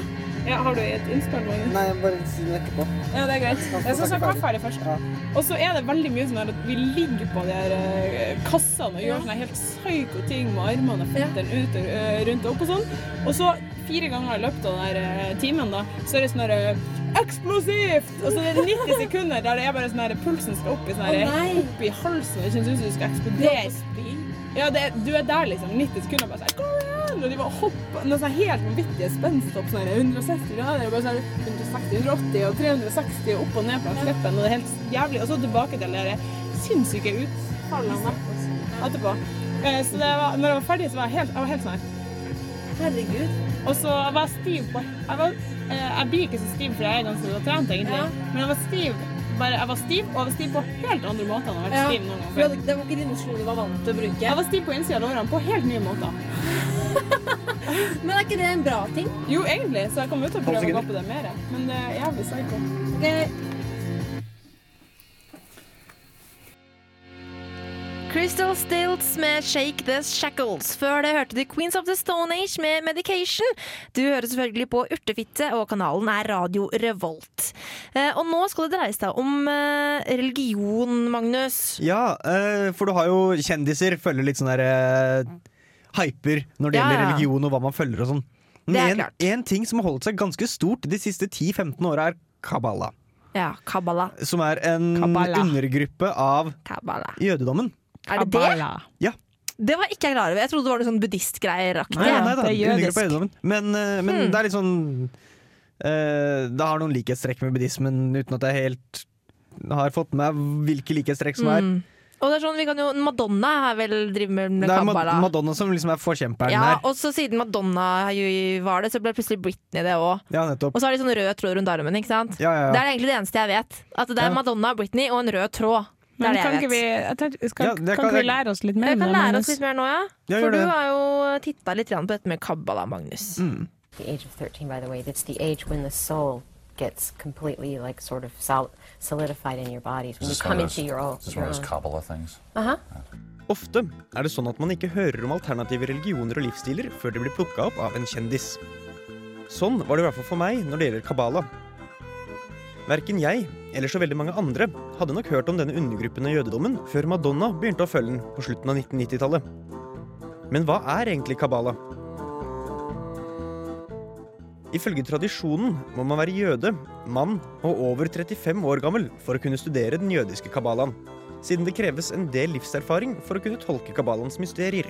G: Ja, har du et innspill? Magnus?
F: Nei, bare si det etterpå.
G: Ja, det er greit. Jeg skal snakke meg ferdig først.
F: Ja.
G: Og så er det veldig mye sånn her at vi ligger på de her eh, kassene og gjør sånne helt psyko ting med armene og føttene ut og eh, rundt og opp og sånn. Og så fire ganger i løpet av den her eh, timen da, så er det sånn her eh, eksplosivt! Og så er det 90 sekunder der det er bare sånn her pulsen skal opp i sånn her
H: Å, nei.
G: opp i halsen. Det kjennes ut som du skal eksplodere. Ja, det, er- du er der liksom 90 sekunder bare sånn her, «Kom igjen!» og de bare hopper noe sånn helt vanvittige spenstopp, sånn her 160 grader, og bare sånn her 160, 180 og 360 opp og ned på slippen, og det er helt jævlig. Og så tilbake til det der sinnssyke utfallene etterpå. Eh, Så det var, når jeg var ferdig, så var jeg helt, jeg var helt sånn her.
H: Herregud.
G: Og så var jeg stiv på Jeg, var, eh, jeg blir ikke så stiv, for jeg er ganske godt trent, egentlig.
H: Ja.
G: Men jeg var stiv. Bare, jeg var stiv, og jeg var stiv på helt andre måter enn jeg har vært
H: Ja.
G: stiv noen gang
H: For
G: før.
H: det- det var ikke de musklene du var vant til å bruke.
G: Jeg var stiv på innsida av lårene på helt nye måter.
H: Men er ikke det en bra ting?
G: Jo, egentlig, så jeg kommer til å prøve å gå
F: sekunder.
G: på det mer. Men det er jævlig psycho.
H: Ok,
E: Crystal Stilts med Shake the Shackles. Før det hørte du Queens of the Stone Age med Medication. Du hører selvfølgelig på Urtefitte, og kanalen er Radio Revolt. Eh, og nå skal det dreie seg om eh, religion, Magnus.
F: Ja, eh, for du har jo kjendiser følger litt sånn der eh, hyper når det
E: Ja,
F: gjelder
E: ja.
F: religion og hva man følger og sånn.
E: Det er
F: en,
E: klart.
F: en ting som har holdt seg ganske stort de siste 10-15 åra, er kabbala.
E: Ja, kabbala.
F: Som er en
E: Kabbala.
F: undergruppe av
E: Kabbala.
F: jødedommen.
E: Er det det? Det var ikke jeg klar over. Jeg trodde det var noe sånn buddhistgreier-aktig.
F: Nei, nei da,
G: det er jødisk.
F: undergruppe av jødedommen. Men, eh, men
E: Hmm.
F: det er litt sånn eh, Det har noen likhetstrekk med buddhismen, uten at jeg helt har fått med meg hvilke likhetstrekk som er.
E: Mm. Og det er sånn, vi kan jo, Madonna er vel driver med, med
F: Det er Ma-
E: kabbala.
F: Madonna som liksom er forkjemperen
E: ja,
F: her.
E: og så siden Madonna jo var det, så ble plutselig Britney det òg.
F: Ja, nettopp.
E: Og så har de sånn rød tråd rundt armen. ikke sant?
F: Ja, ja,
E: Det
F: ja.
E: er egentlig det eneste jeg vet. At det er
F: Ja.
E: Madonna, Britney og en rød tråd. Det er
L: Men
E: det
L: kan
E: jeg
L: ikke
E: vet.
L: vi, jeg tenkte, skal,
F: Ja, det
L: kan
F: kan-
L: ikke vi lære oss litt mer?
E: Jeg
L: om
E: kan
L: det,
E: lære
L: Magnus?
E: oss litt mer nå, ja.
F: Ja, gjør
E: For du
F: det. Mm.
E: har jo titta litt grann på dette med kabbala, Magnus.
M: the age of 13 by the way that's the age when the soul gets completely like sort of sol- solidified in your bodies when you come into your own, your own.
N: Kabbalah things.
M: uh-huh
F: Ofte er det sånn at man ikke hører om alternative religioner og livsstiler før de blir plukka opp av en kjendis. Sånn var det i hvert fall for meg når det gjelder kabbala. Verken jeg eller så veldig mange andre hadde nok hørt om denne undergruppen av jødedommen før Madonna begynte å følge den på slutten av 1990-tallet. Men hva er egentlig kabbala? Ifølge tradisjonen må man være jøde, mann og over 35 år gammel for å kunne studere den jødiske kabbalaen, siden det kreves en del livserfaring for å kunne tolke kabbalaens mysterier.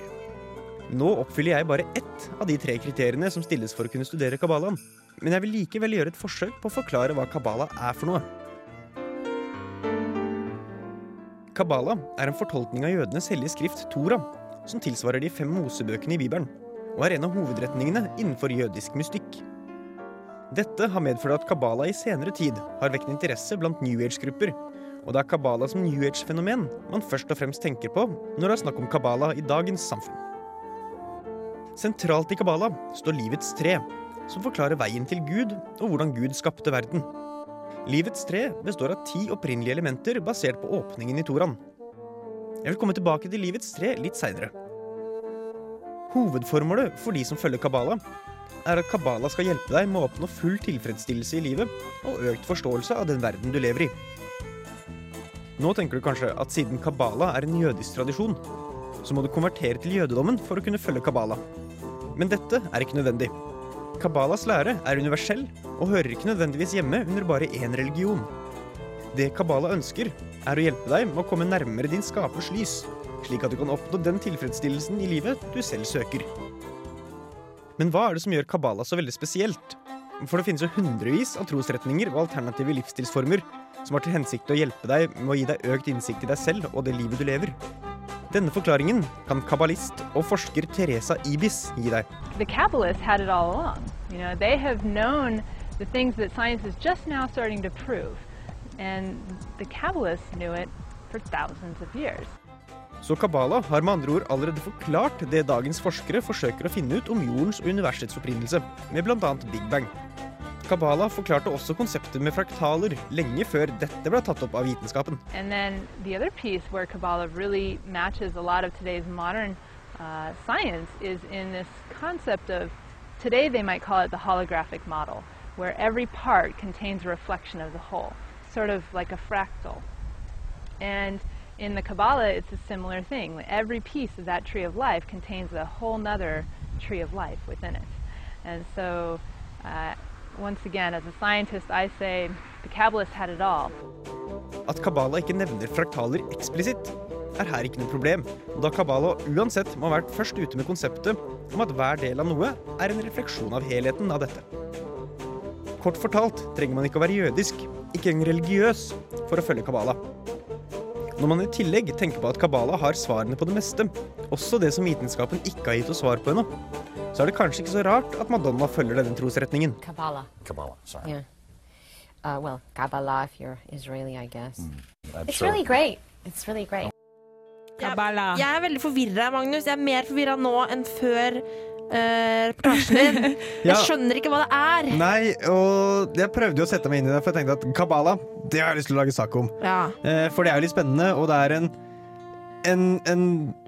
F: Nå oppfyller jeg bare ett av de tre kriteriene som stilles for å kunne studere kabbalaen, men jeg vil likevel gjøre et forsøk på å forklare hva kabbala er for noe. Kabbala er en fortolkning av jødenes hellige skrift Tora, som tilsvarer de fem mosebøkene i Bibelen, og er en av hovedretningene innenfor jødisk mystikk. Dette har medført at kabbala i senere tid har vekt interesse blant New Age-grupper, og det er kabbala som New Age-fenomen man først og fremst tenker på når det er snakk om kabbala i dagens samfunn. Sentralt i kabbala står livets tre, som forklarer veien til Gud og hvordan Gud skapte verden. Livets tre består av ti opprinnelige elementer basert på åpningen i Toraen. Jeg vil komme tilbake til livets tre litt seinere. Hovedformålet for de som følger kabbala, er at kabbala skal hjelpe deg med å oppnå full tilfredsstillelse i livet og økt forståelse av den verden du lever i. Nå tenker du kanskje at siden kabbala er en jødisk tradisjon, så må du konvertere til jødedommen for å kunne følge kabbala. Men dette er ikke nødvendig. Kabbalas lære er universell og hører ikke nødvendigvis hjemme under bare én religion. Det Kabbala ønsker, er å hjelpe deg med å komme nærmere din skapers lys, slik at du kan oppnå den tilfredsstillelsen i livet du selv søker. Men hva er det som gjør Kabbala så veldig spesielt? For det finnes jo hundrevis av trosretninger og alternative livsstilsformer som har til hensikt å hjelpe deg med å gi deg økt innsikt i deg selv og det livet du lever. Denne forklaringen kan kabbalist og forsker Teresa Ibis gi deg.
L: The Kabbalists had it all along. You know, they have known the things that science is just now starting to prove. And the Kabbalists knew it for thousands of years.
F: Så Kabbala har med andre ord allerede forklart det dagens forskere forsøker å finne ut om jordens og universets opprinnelse, med bl.a. Big Bang. Kabbala forklarte også konseptet med fraktaler lenge før dette ble tatt opp av vitenskapen.
L: And then the other piece where Kabbalah really matches a lot of today's modern uh, science is in this concept of today they might call it the holographic model, where every part contains a reflection of the whole, sort of like a fractal. And in the Kabbalah, it's a similar thing. Every piece of that tree of life contains a whole nother tree of life within it. And so, uh, once again, as a scientist, I say the Kabbalists had it all.
F: At Kabbala ikke nevner fraktaler eksplisitt, er her ikke noe problem, da Kabbala uansett må ha vært først ute med konseptet om at hver del av noe er en refleksjon av helheten av dette. Kort fortalt trenger man ikke å være jødisk, ikke engang religiøs, for å følge Kabbala. Når man i tillegg tenker på at Kabbala har svarene på det meste, også det som vitenskapen ikke har gitt oss svar på ennå, så er det kanskje ikke så rart at Madonna følger denne trosretningen.
M: Kabbalah.
N: Kabbalah, sorry.
M: Yeah. Uh, well, Kabbalah if you're Israeli, I guess.
I: Mm,
N: I'm
M: It's
N: sure.
M: really great. It's really great.
E: Jeg, jeg er veldig forvirra, Magnus. Jeg er mer forvirra nå enn før eh, reportasjen din.
F: Ja.
E: Jeg skjønner ikke hva det er.
F: Nei, og jeg prøvde jo å sette meg inn i det, for jeg tenkte at Kabbala, det har jeg lyst til å lage sak om.
E: Ja.
F: Eh, For det er jo litt spennende, og det er en, en, en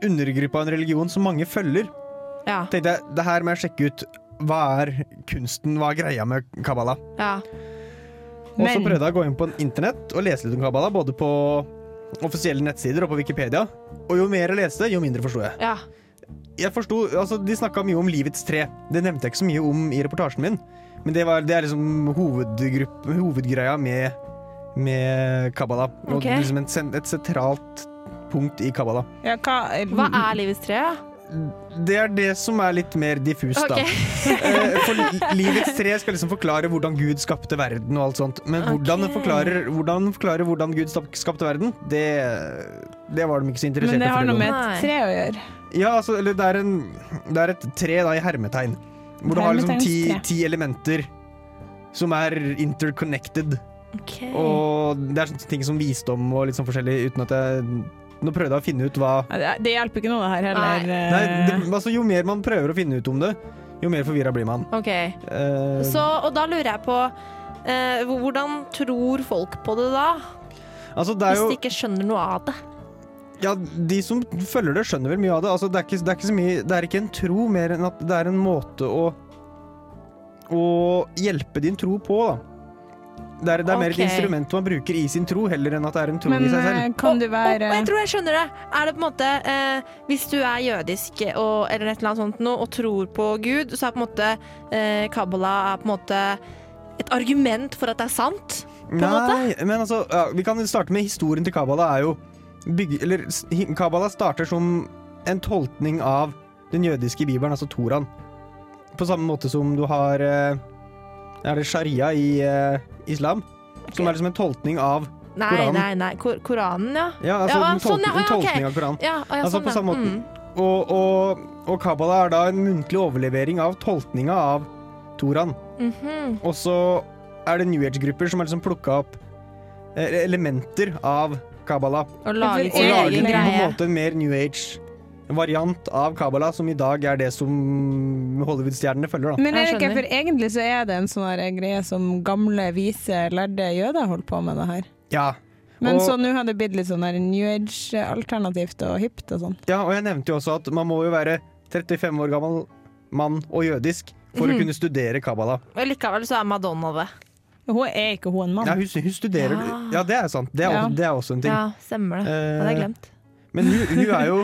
F: undergruppe av en religion som mange følger. Tenkte jeg, det her må jeg sjekke ut. Hva er kunsten, hva er greia med Kabbala?
E: Ja.
F: Og så
E: Men-
F: prøvde jeg å gå inn på internett og lese litt om Kabbala, både på offisielle nettsider og på Wikipedia. Og jo mer jeg leste, jo mindre forsto jeg.
E: Ja.
F: Jeg forsto, altså De snakka mye om livets tre. Det nevnte jeg ikke så mye om i reportasjen min. Men det, var, det er liksom hovedgrupp, hovedgreia med, med Kabbala. Og
E: Ok.
F: liksom et, sen- et sentralt punkt i Kabbala.
E: hva, er livets tre? da?
F: Det er det som er litt mer diffust,
E: Ok.
F: da. <laughs> Eh, For li- livets tre skal liksom forklare hvordan Gud skapte verden og alt sånt. Men hvordan den
G: Ok.
F: forklarer hvordan, den forklarer hvordan Gud stap- skapte verden, det, det var de ikke så interessert
G: Men
F: i.
G: det
F: å
G: har
F: fortelle om.
G: noe med et tre å gjøre.
F: Ja, altså, eller det er, en, det er et tre da, i hermetegn. Hvor du har liksom ti,
G: Hermetegnstre.
F: ti elementer som er interconnected.
E: Okay.
F: Og det er sånne ting som visdom og litt sånn forskjellig, uten at jeg Nå prøvde jeg å finne ut hva
G: Ja, Det, det hjelper ikke noe, det her heller.
F: Nei, det,
E: Eh.
F: altså, Jo mer man prøver å finne ut om det, jo mer forvirra blir man.
E: Ok.
F: Eh,
E: Så, og da lurer jeg på eh, Hvordan tror folk på det da?
F: altså, det er
E: Hvis
F: jo,
E: de ikke skjønner noe av det.
F: ja, de som følger det, skjønner vel mye av det. Altså, det, er ikke, det, er ikke så mye, det er ikke en tro, mer enn at det er en måte å og hjelpe din tro på, da. Det er, det er mer et
E: Ok.
F: instrument man bruker i sin tro, heller enn at det er en tro
E: Men,
F: i seg selv.
E: eh, Og jeg tror jeg skjønner det. Er det på en måte eh, Hvis du er jødisk og, eller et eller annet sånt noe, og tror på Gud, så er på en måte eh, Kabbala er på en måte et argument for at det er sant? På en måte.
F: Nei, men altså, ja, vi kan starte med historien til Kabbala er jo bygge, eller, s- hi- Kabbala starter som en tolkning av den jødiske bibelen, altså Toran. På samme måte som du har eh, Er det sharia i eh, islam? Som er liksom en tolkning av
E: Nei,
F: Koranen.
E: nei, nei. Kor Koranen, ja. sånn,
F: Ja, altså en, tolk, en
E: ja, ok.
F: tolkning av Koranen.
E: Ja, ja,
F: altså
E: sånn,
F: på samme
E: ja.
F: måten.
E: Mm.
F: Og, og, og Kabbala er da en muntlig overlevering av tolkninga av Toran.
E: Mhm.
F: Og så er det New Age-grupper som har liksom plukka opp eh, elementer av Kabbala.
E: Og laget
F: og
E: sin
F: laget
E: egen
F: en- på en
E: greie.
F: måte en mer New Age-variant av Kabbala, som i dag er det som Hollywood-stjernene følger. Da.
N: Men er det ikke, for egentlig så er det en sånn her greie som gamle, vise, lærde jøder holdt på med det her.
F: Ja.
N: Men
F: Og-
N: så nå har det blitt litt sånn her New Age-alternativt og hipt og sånn.
F: Ja, og jeg nevnte jo også at man må jo være 35 år gammel mann og jødisk for
E: Mhm.
F: å kunne studere Kabbala.
E: Og likevel så er Madonna det.
N: Hun er ikke hun en mann.
F: Ja, hun, hun studerer Ja, det er sant. Det er,
N: Ja.
F: også, det er også en ting.
E: Ah. Ja, stemmer det. Det hadde jeg
F: Eh,
E: glemt.
F: Men hun, hun er
E: <laughs>
F: jo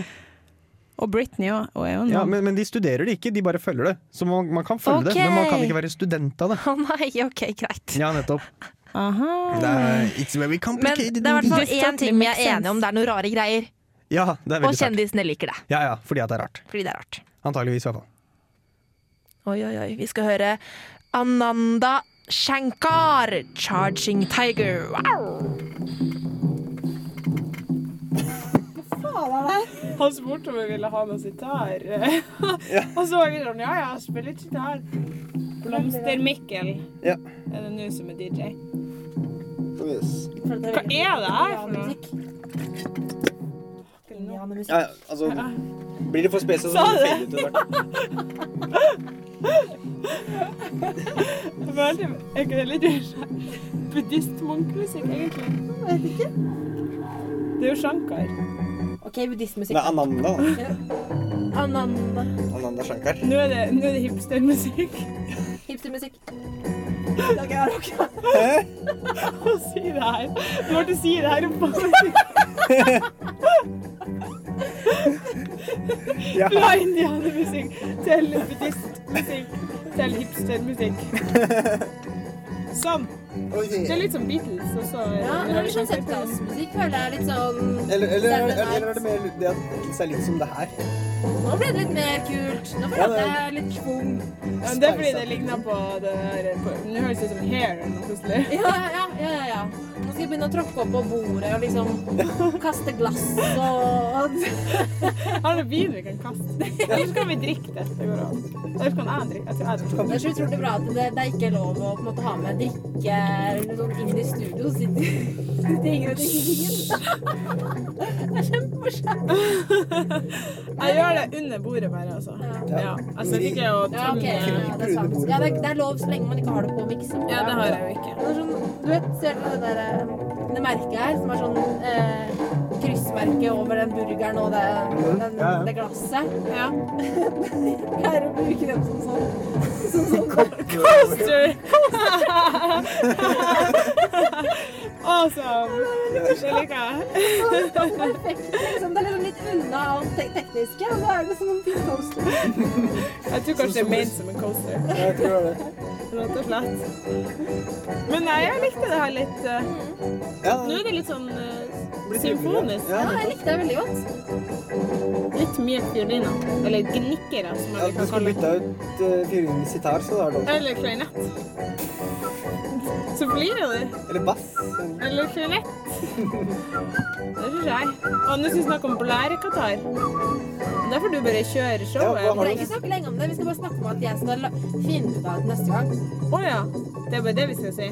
N: Og Britney òg. Hun er jo en
F: ja,
N: mann.
F: men, men de studerer det ikke, de bare følger det. Så man, man kan følge det, men man kan
E: Ok.
F: ikke være student av det.
E: Å nei, OK, greit.
F: Ja, nettopp. Det er, it's very
E: Ah. Men det
F: complicated.
E: er i hvert fall
N: This
E: én
N: totally
E: ting vi
N: makes
E: er
N: sense.
E: enige om, det er noen rare greier.
F: Ja, det er
E: Og
F: veldig sant.
E: kjendisene liker det,
F: Ja, ja, fordi at det er rart.
E: fordi det er rart.
F: Antageligvis, i hvert fall.
E: Oi, oi, oi. Vi skal høre Ananda Shankar, 'Charging Tiger'. Wow!
G: faen er det her? Han spurte om jeg ville ha noe sitar. <laughs> og så var jeg sånn, ja, ja, spill litt sitar. Blomster-Mikkel
I: Ja.
G: er det nå som er DJ.
I: Yes.
G: Hva er det her for noe?
I: Ja, ja, altså Blir det for spesielt, så
G: Sa
I: blir det
G: det?
I: fade ut etter hvert.
G: Jeg følte, er ikke det litt buddhist-munkmusikk, egentlig? Jeg vet ikke. Det er jo Shankar.
H: OK, buddhistmusikk.
I: Det er Ananda, da.
H: Ananda.
I: Ananda Shankar.
G: Nå er det, nå er det hipstermusikk.
H: Hipstermusikk.
G: Å si det her. Du måtte si det her på
I: Ja.
G: Fra indianermusikk til buddhistmusikk til hipstermusikk. Sånn. Det er litt som Beatles også.
H: Ja, men det er litt sånn 70-tallsmusikk, føler jeg. Litt sånn
I: Eller, eller,
H: Saturday
I: eller, eller er
H: Night.
I: det mer det at Beatles er litt som det her?
H: Nå ble det litt mer kult. Nå ble
I: Ja,
H: det
I: det- er-
H: litt schwung.
G: Ja, men det er fordi det ligner på det der på, Nå høres det ut som hair eller noe plutselig.
H: Ja, ja, ja, ja, ja. Nå skal jeg begynne å tråkke opp på bordet og liksom kaste glass og
G: Har du vin vi kan kaste?
H: <laughs>
G: Eller så kan vi drikke det. Det går an. Eller så kan jeg drikke. Jeg tror jeg drikker.
H: Det er så utrolig bra at det, det er ikke lov å på en måte ha med drikke eller noe sånt inn i studio. Så sitter sitter og henger og drikker vin. Det er kjempeforskjell.
G: Jeg gjør det under bordet bare, altså. Ja. Altså, jeg liker å
H: Ja, ok.
G: tømme
H: Ja, det er sant. Ja, det, er, det er lov så lenge man ikke har det på miksen.
G: Ja, det har jeg jo ikke.
H: Det er sånn, du vet, ser du det der eh, det merket her, som er sånn eh, kryssmerke over den burgeren og det, den,
G: Ja, ja.
H: det glasset? Ja. <laughs> jeg pleier å bruke den som sånn.
G: <laughs>
H: Som sånn
G: Coaster! <laughs> awesome! Det liker jeg.
H: Det er perfekt, liksom. Det er liksom litt unna alt te tekniske, og så er det sånn fin toaster.
G: Jeg tror kanskje det er ment som en coaster.
I: Jeg tror det.
G: Rett og slett. Men nei, jeg likte det her litt. eh, Nå er det litt sånn eh, symfonisk.
H: Ja, jeg likte det veldig godt.
G: Litt mye fioliner. Eller gnikkere, som
I: Ja, du
G: jeg liker
I: skulle
G: å kalle det.
I: bytta ut uh, fiolin i sitar, så da er det
G: Eller klarinett. Så blir det det.
I: Eller bass.
G: Eller klarinett. Det syns jeg. Og nå skal vi snakke om blærekatar. Det får du bare kjøre showet.
H: Vi trenger ikke snakke lenge om det, vi skal bare snakke om at jeg skal la- finne ut av det neste gang.
G: Å ja. Det er bare det vi skal si.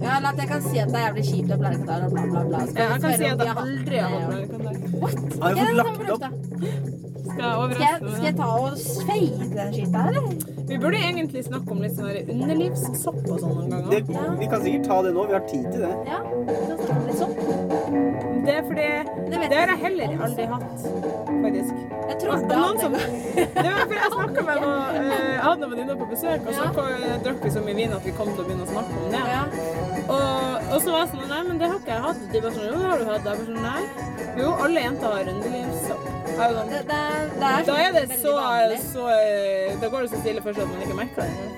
H: Ja, eller at jeg kan si at det er jævlig kjipt å blære katar og bla, bla, bla. Så
G: Ja, jeg kan
H: spørre
G: si
H: om
G: at
H: de
G: jeg
H: hatt
G: aldri har hatt
H: det, og-
G: blærekatar.
H: What?
I: Har jeg fått
H: Ok, den
I: lagt
H: kommer
I: opp?
G: Skal jeg
H: Skal jeg,
G: overraske
H: skal jeg ta og sveide den skiten her, eller?
G: Vi burde egentlig snakke om litt sånn her underlivssopp og sånn noen ganger.
I: Det, vi kan sikkert ta det nå, vi har tid til det.
H: Ja, da snakker vi litt sånn.
G: Det er fordi Det har jeg heller aldri hatt, faktisk.
H: Jeg trodde
O: noen som, det var for jeg snakket med noen, eh, jeg hadde noen venninner på besøk, og så kom- eh, drakk vi så mye vin at vi kom til å begynne å snakke om det. Og, og så var jeg sånn, nei, men det har ikke jeg hatt. De bare sånn, jo, det har du hatt. Jeg bare sånn, nei. Jo, alle jenter har rundelyns. Jeg var sånn,
H: det er
O: da er det
H: veldig
O: så,
H: vanlig.
O: så, eh, da går det så stille først at man ikke merker det.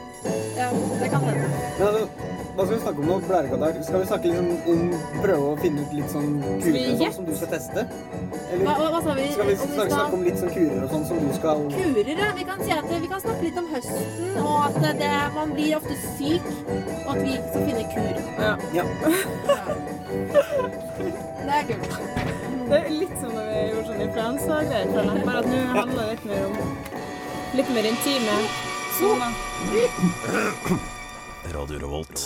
H: Ja, det kan hende.
P: Men altså, hva skal vi snakke om nå? Blærekatarr? Skal vi snakke liksom om prøve å finne ut litt sånn
H: Skal
P: kurer
H: vi
P: og sånn
H: gjette?
P: som du skal teste? Eller
H: Hva- hva- hva sa vi?
P: skal vi
H: Om vi
P: snakke,
H: skal-
P: snakke om litt sånn kurer og sånn som du skal
H: Kurer, ja. Vi kan, si at vi kan snakke litt om høsten, og at det, man blir ofte syk, og at vi ikke skal finne kur.
P: Ja.
H: Det er kult.
O: Det er litt som når vi gjorde sånn influensagreier, føler jeg. Bare at nå handler det litt mer om litt mer intime Sånn, soner.
K: Radio Revolt.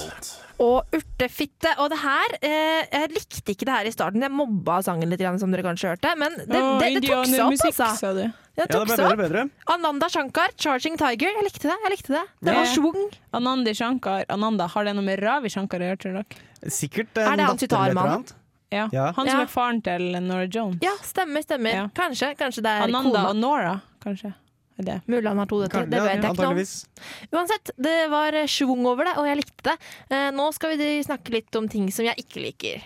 E: og urtefitte. Og det her eh, Jeg likte ikke det her i starten. Jeg mobba sangen litt, grann, som dere kanskje hørte. Men det, det, det, tok seg opp,
O: indianermusikk,
E: altså.
O: sa du.
E: Det
F: Ja,
E: tok
F: det ble
E: seg
F: bedre
E: opp.
F: og bedre.
E: Ananda Shankar, 'Charging Tiger'. Jeg likte det. jeg likte Det Det var schwung.
G: Anandi Shankar. Ananda, har det noe med Ravi Shankar å gjøre, tror dere?
F: Sikkert
E: Er
F: en
E: det han
F: datter eller et eller
E: sitarmannen?
F: annet.
G: Ja.
F: Ja.
G: Han som
E: Ja.
G: er faren til Nora Jones.
E: Ja, stemmer, stemmer. Kanskje, kanskje det er
G: Ananda
E: kona.
G: og Nora, kanskje. Er det.
E: Mulig han har to døtre.
G: Kan-
E: Det
G: ja,
E: vet jeg ikke noe om.
G: antageligvis.
E: Uansett, det var eh, schwung over det, og jeg likte det. Eh, nå skal vi snakke litt om ting som jeg ikke liker.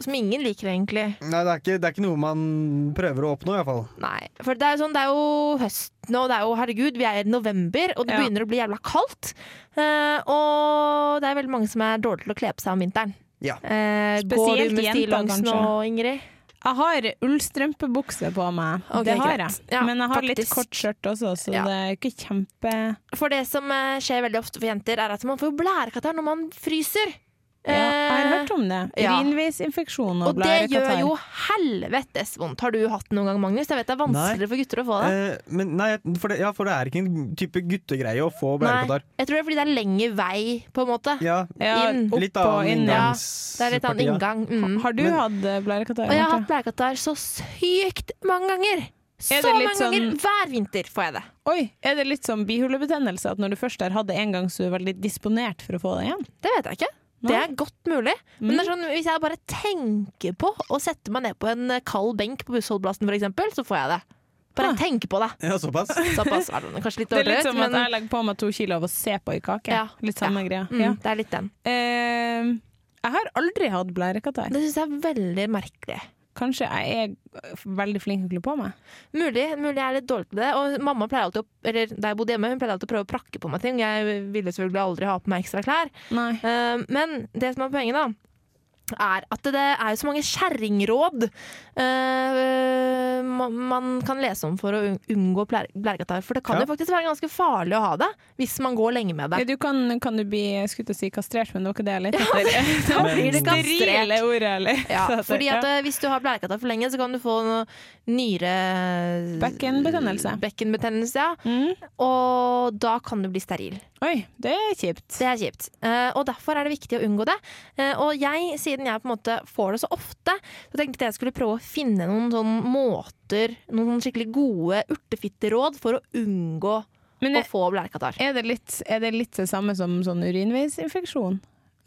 E: Som ingen liker, egentlig.
F: Nei, det er, ikke, det er ikke noe man prøver å oppnå, iallfall.
E: Nei. For det er jo sånn, det er jo høsten, og det er jo herregud, vi er i november, og det begynner å bli jævla kaldt. Eh, og det er veldig mange som er dårlige til å kle på seg om vinteren.
F: Ja.
E: Eh, går
G: Spesielt
E: du med
G: jenter,
E: stillongs nå,
G: kanskje.
E: Ingrid?
G: Jeg har ullstrømpebukse på meg,
E: Ok,
G: det har jeg.
E: greit. Ja,
G: Men jeg har litt
E: faktisk.
G: kort skjørt også, så
E: Ja.
G: det er ikke kjempe...
E: For det som eh, skjer veldig ofte for jenter, er at man får blærekatarr når man fryser.
G: Ja, jeg har
E: Eh,
G: hørt om det.
E: ja.
G: Urinveisinfeksjon og
E: Og det gjør
G: blærekatarr.
E: jo helvetes vondt. Har du hatt det noen gang, Magnus? Jeg vet det er vanskeligere for gutter å få det.
F: Eh, men nei, for det, ja, for det er ikke en type guttegreie å få blærekatarr.
E: jeg tror det er fordi det er lengre vei, på en måte.
F: Ja,
E: inn.
F: litt annen
E: Ja,
F: inngangs-
E: det er litt annen
F: parti, ja.
E: inngang. Mm.
G: Har du hatt eh, blærekatarr?
E: Og jeg har
G: Marte?
E: hatt blærekatarr så sykt mange ganger. Så
G: Er det
E: mange
G: litt
E: ganger.
G: sånn-
E: Hver vinter får jeg det.
G: Oi, er det litt som bihulebetennelse? At når du først har hatt det en gang, så er du veldig disponert for å få det igjen?
E: Det vet jeg ikke. Det er godt mulig. Men
G: Mm.
E: det er sånn, hvis jeg bare tenker på å sette meg ned på en eh, kald benk på bussholdeplassen, for eksempel, så får jeg det. Bare jeg tenker på det. <laughs>
F: Ja, såpass.
E: Såpass var det kanskje litt
G: Ah. <laughs> Det er
E: overdrevet,
G: litt som
E: men
G: at jeg legger på meg to kilo av å se på ei kake.
E: Ja.
G: Litt samme greia.
E: Mm,
G: Ja.
E: det er litt den.
G: Eh, jeg har aldri hatt blærekatarr.
E: Det syns jeg er veldig merkelig.
G: Kanskje jeg er veldig flink til å kle på meg.
E: Mulig, mulig jeg er litt dårlig til det. Og mamma pleier alltid å, eller da jeg bodde hjemme, hun pleier alltid å prøve å prakke på meg ting. Jeg ville selvfølgelig aldri ha på meg ekstra klær. Eh, men det som er poenget, da, er at det er jo så mange kjerringråd eh, ma- man kan lese om for å un- unngå blær- blærekatarr. For det kan
G: Ja.
E: jo faktisk være ganske farlig å ha det hvis man går lenge med det.
G: Ja, du kan, kan du bli jeg skulle til å si kastrert, men det var ikke det jeg lette
E: <laughs>
G: etter.
E: da blir det kastrert.
G: Sterile ordet, eller?
E: <laughs> Ja,
G: Så at-
E: fordi at
G: ja.
E: eh, Hvis du har blærekatarr for lenge, så kan du få noe nyre...
G: Bekkenbetennelse.
E: Bekkenbetennelse, ja. Og da kan du bli steril.
G: Mm. Oi, det er kjipt.
E: Det er kjipt. Eh, og derfor er det viktig å unngå det. Eh, og jeg, siden jeg på en måte får det så ofte, så tenkte jeg jeg skulle prøve å finne noen sånne måter, noen sånne skikkelig gode urtefitteråd for å unngå å få blærekatarr.
G: Er det litt, er det litt det samme som sånn urinveisinfeksjon?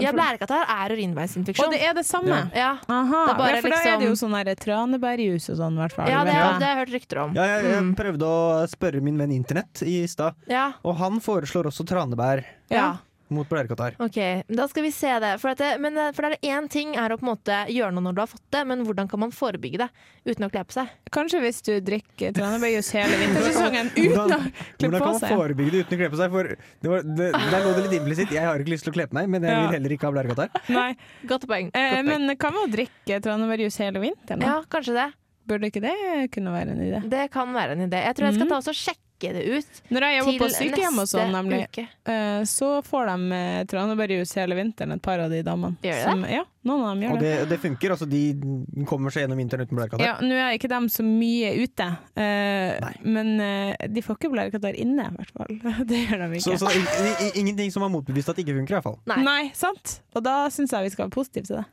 E: Ja, blærekatarr er urinveisinfeksjon.
G: Og det er det samme?
E: Ja.
G: Aha,
E: Det er bare
G: ja, for da er
E: liksom-
G: det jo sånn der tranebærjus og sånn, i hvert fall.
E: Ja, det,
G: vet
E: har-
G: jeg.
E: det har jeg hørt rykter om.
F: Ja, jeg, jeg
E: Mm.
F: prøvde å spørre min venn Internett i stad,
E: Ja.
F: og han foreslår også tranebær
E: Ja.
F: mot blærekatarr.
E: Ok, da skal vi se det. For, at det, men, eh, for det er én ting er å på en måte gjøre noe når du har fått det, men hvordan kan man forebygge det uten å kle på seg?
G: Kanskje hvis du drikker tranebærjus
E: <laughs>
G: hele vintersesongen uten å
F: Hvordan-
G: klippe
F: Hvordan
G: på
F: kan man
G: seg.
F: forebygge det uten å kle på seg? For det var, det, der lå det litt implisitt. Jeg har ikke lyst til å kle på meg, men jeg
G: Ja.
F: vil heller ikke ha blærekatarr.
G: Nei.
E: Godt poeng.
G: Eh,
E: Godt poeng.
G: men kan man drikke tranebærjus hele vinteren? da?
E: Ja, kanskje det.
G: Burde ikke det kunne være en idé?
E: Det kan være en idé. Jeg tror jeg skal ta og så sjekke det ut.
G: Når jeg jobber på
E: til
G: sykehjem og sånn,
E: neste
G: nemlig,
E: uke.
G: eh, så får de eh, tranebærjus hele vinteren, et par av de damene.
E: Gjør de det?
G: ja, noen av dem
F: Og
G: gjør det.
F: det, det funker. Altså, de kommer seg gjennom vinteren uten blærekatarr.
G: Ja, nå er ikke dem så mye ute, eh, men eh, de får ikke blærekatarr inne, i hvert fall. <laughs> Det gjør
F: Så,
G: de ikke.
F: så det er in- in- ingenting som har motbevist at det ikke funker, iallfall.
G: Nei. sant? Og da syns jeg vi skal være positive til det.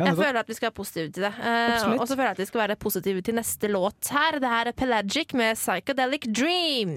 E: jeg føler at vi skal være positive til det. Eh,
G: Absolutt.
E: og så føler jeg at vi skal være positive til neste låt her. Det her er Pelagic med 'Psychedelic Dreams'.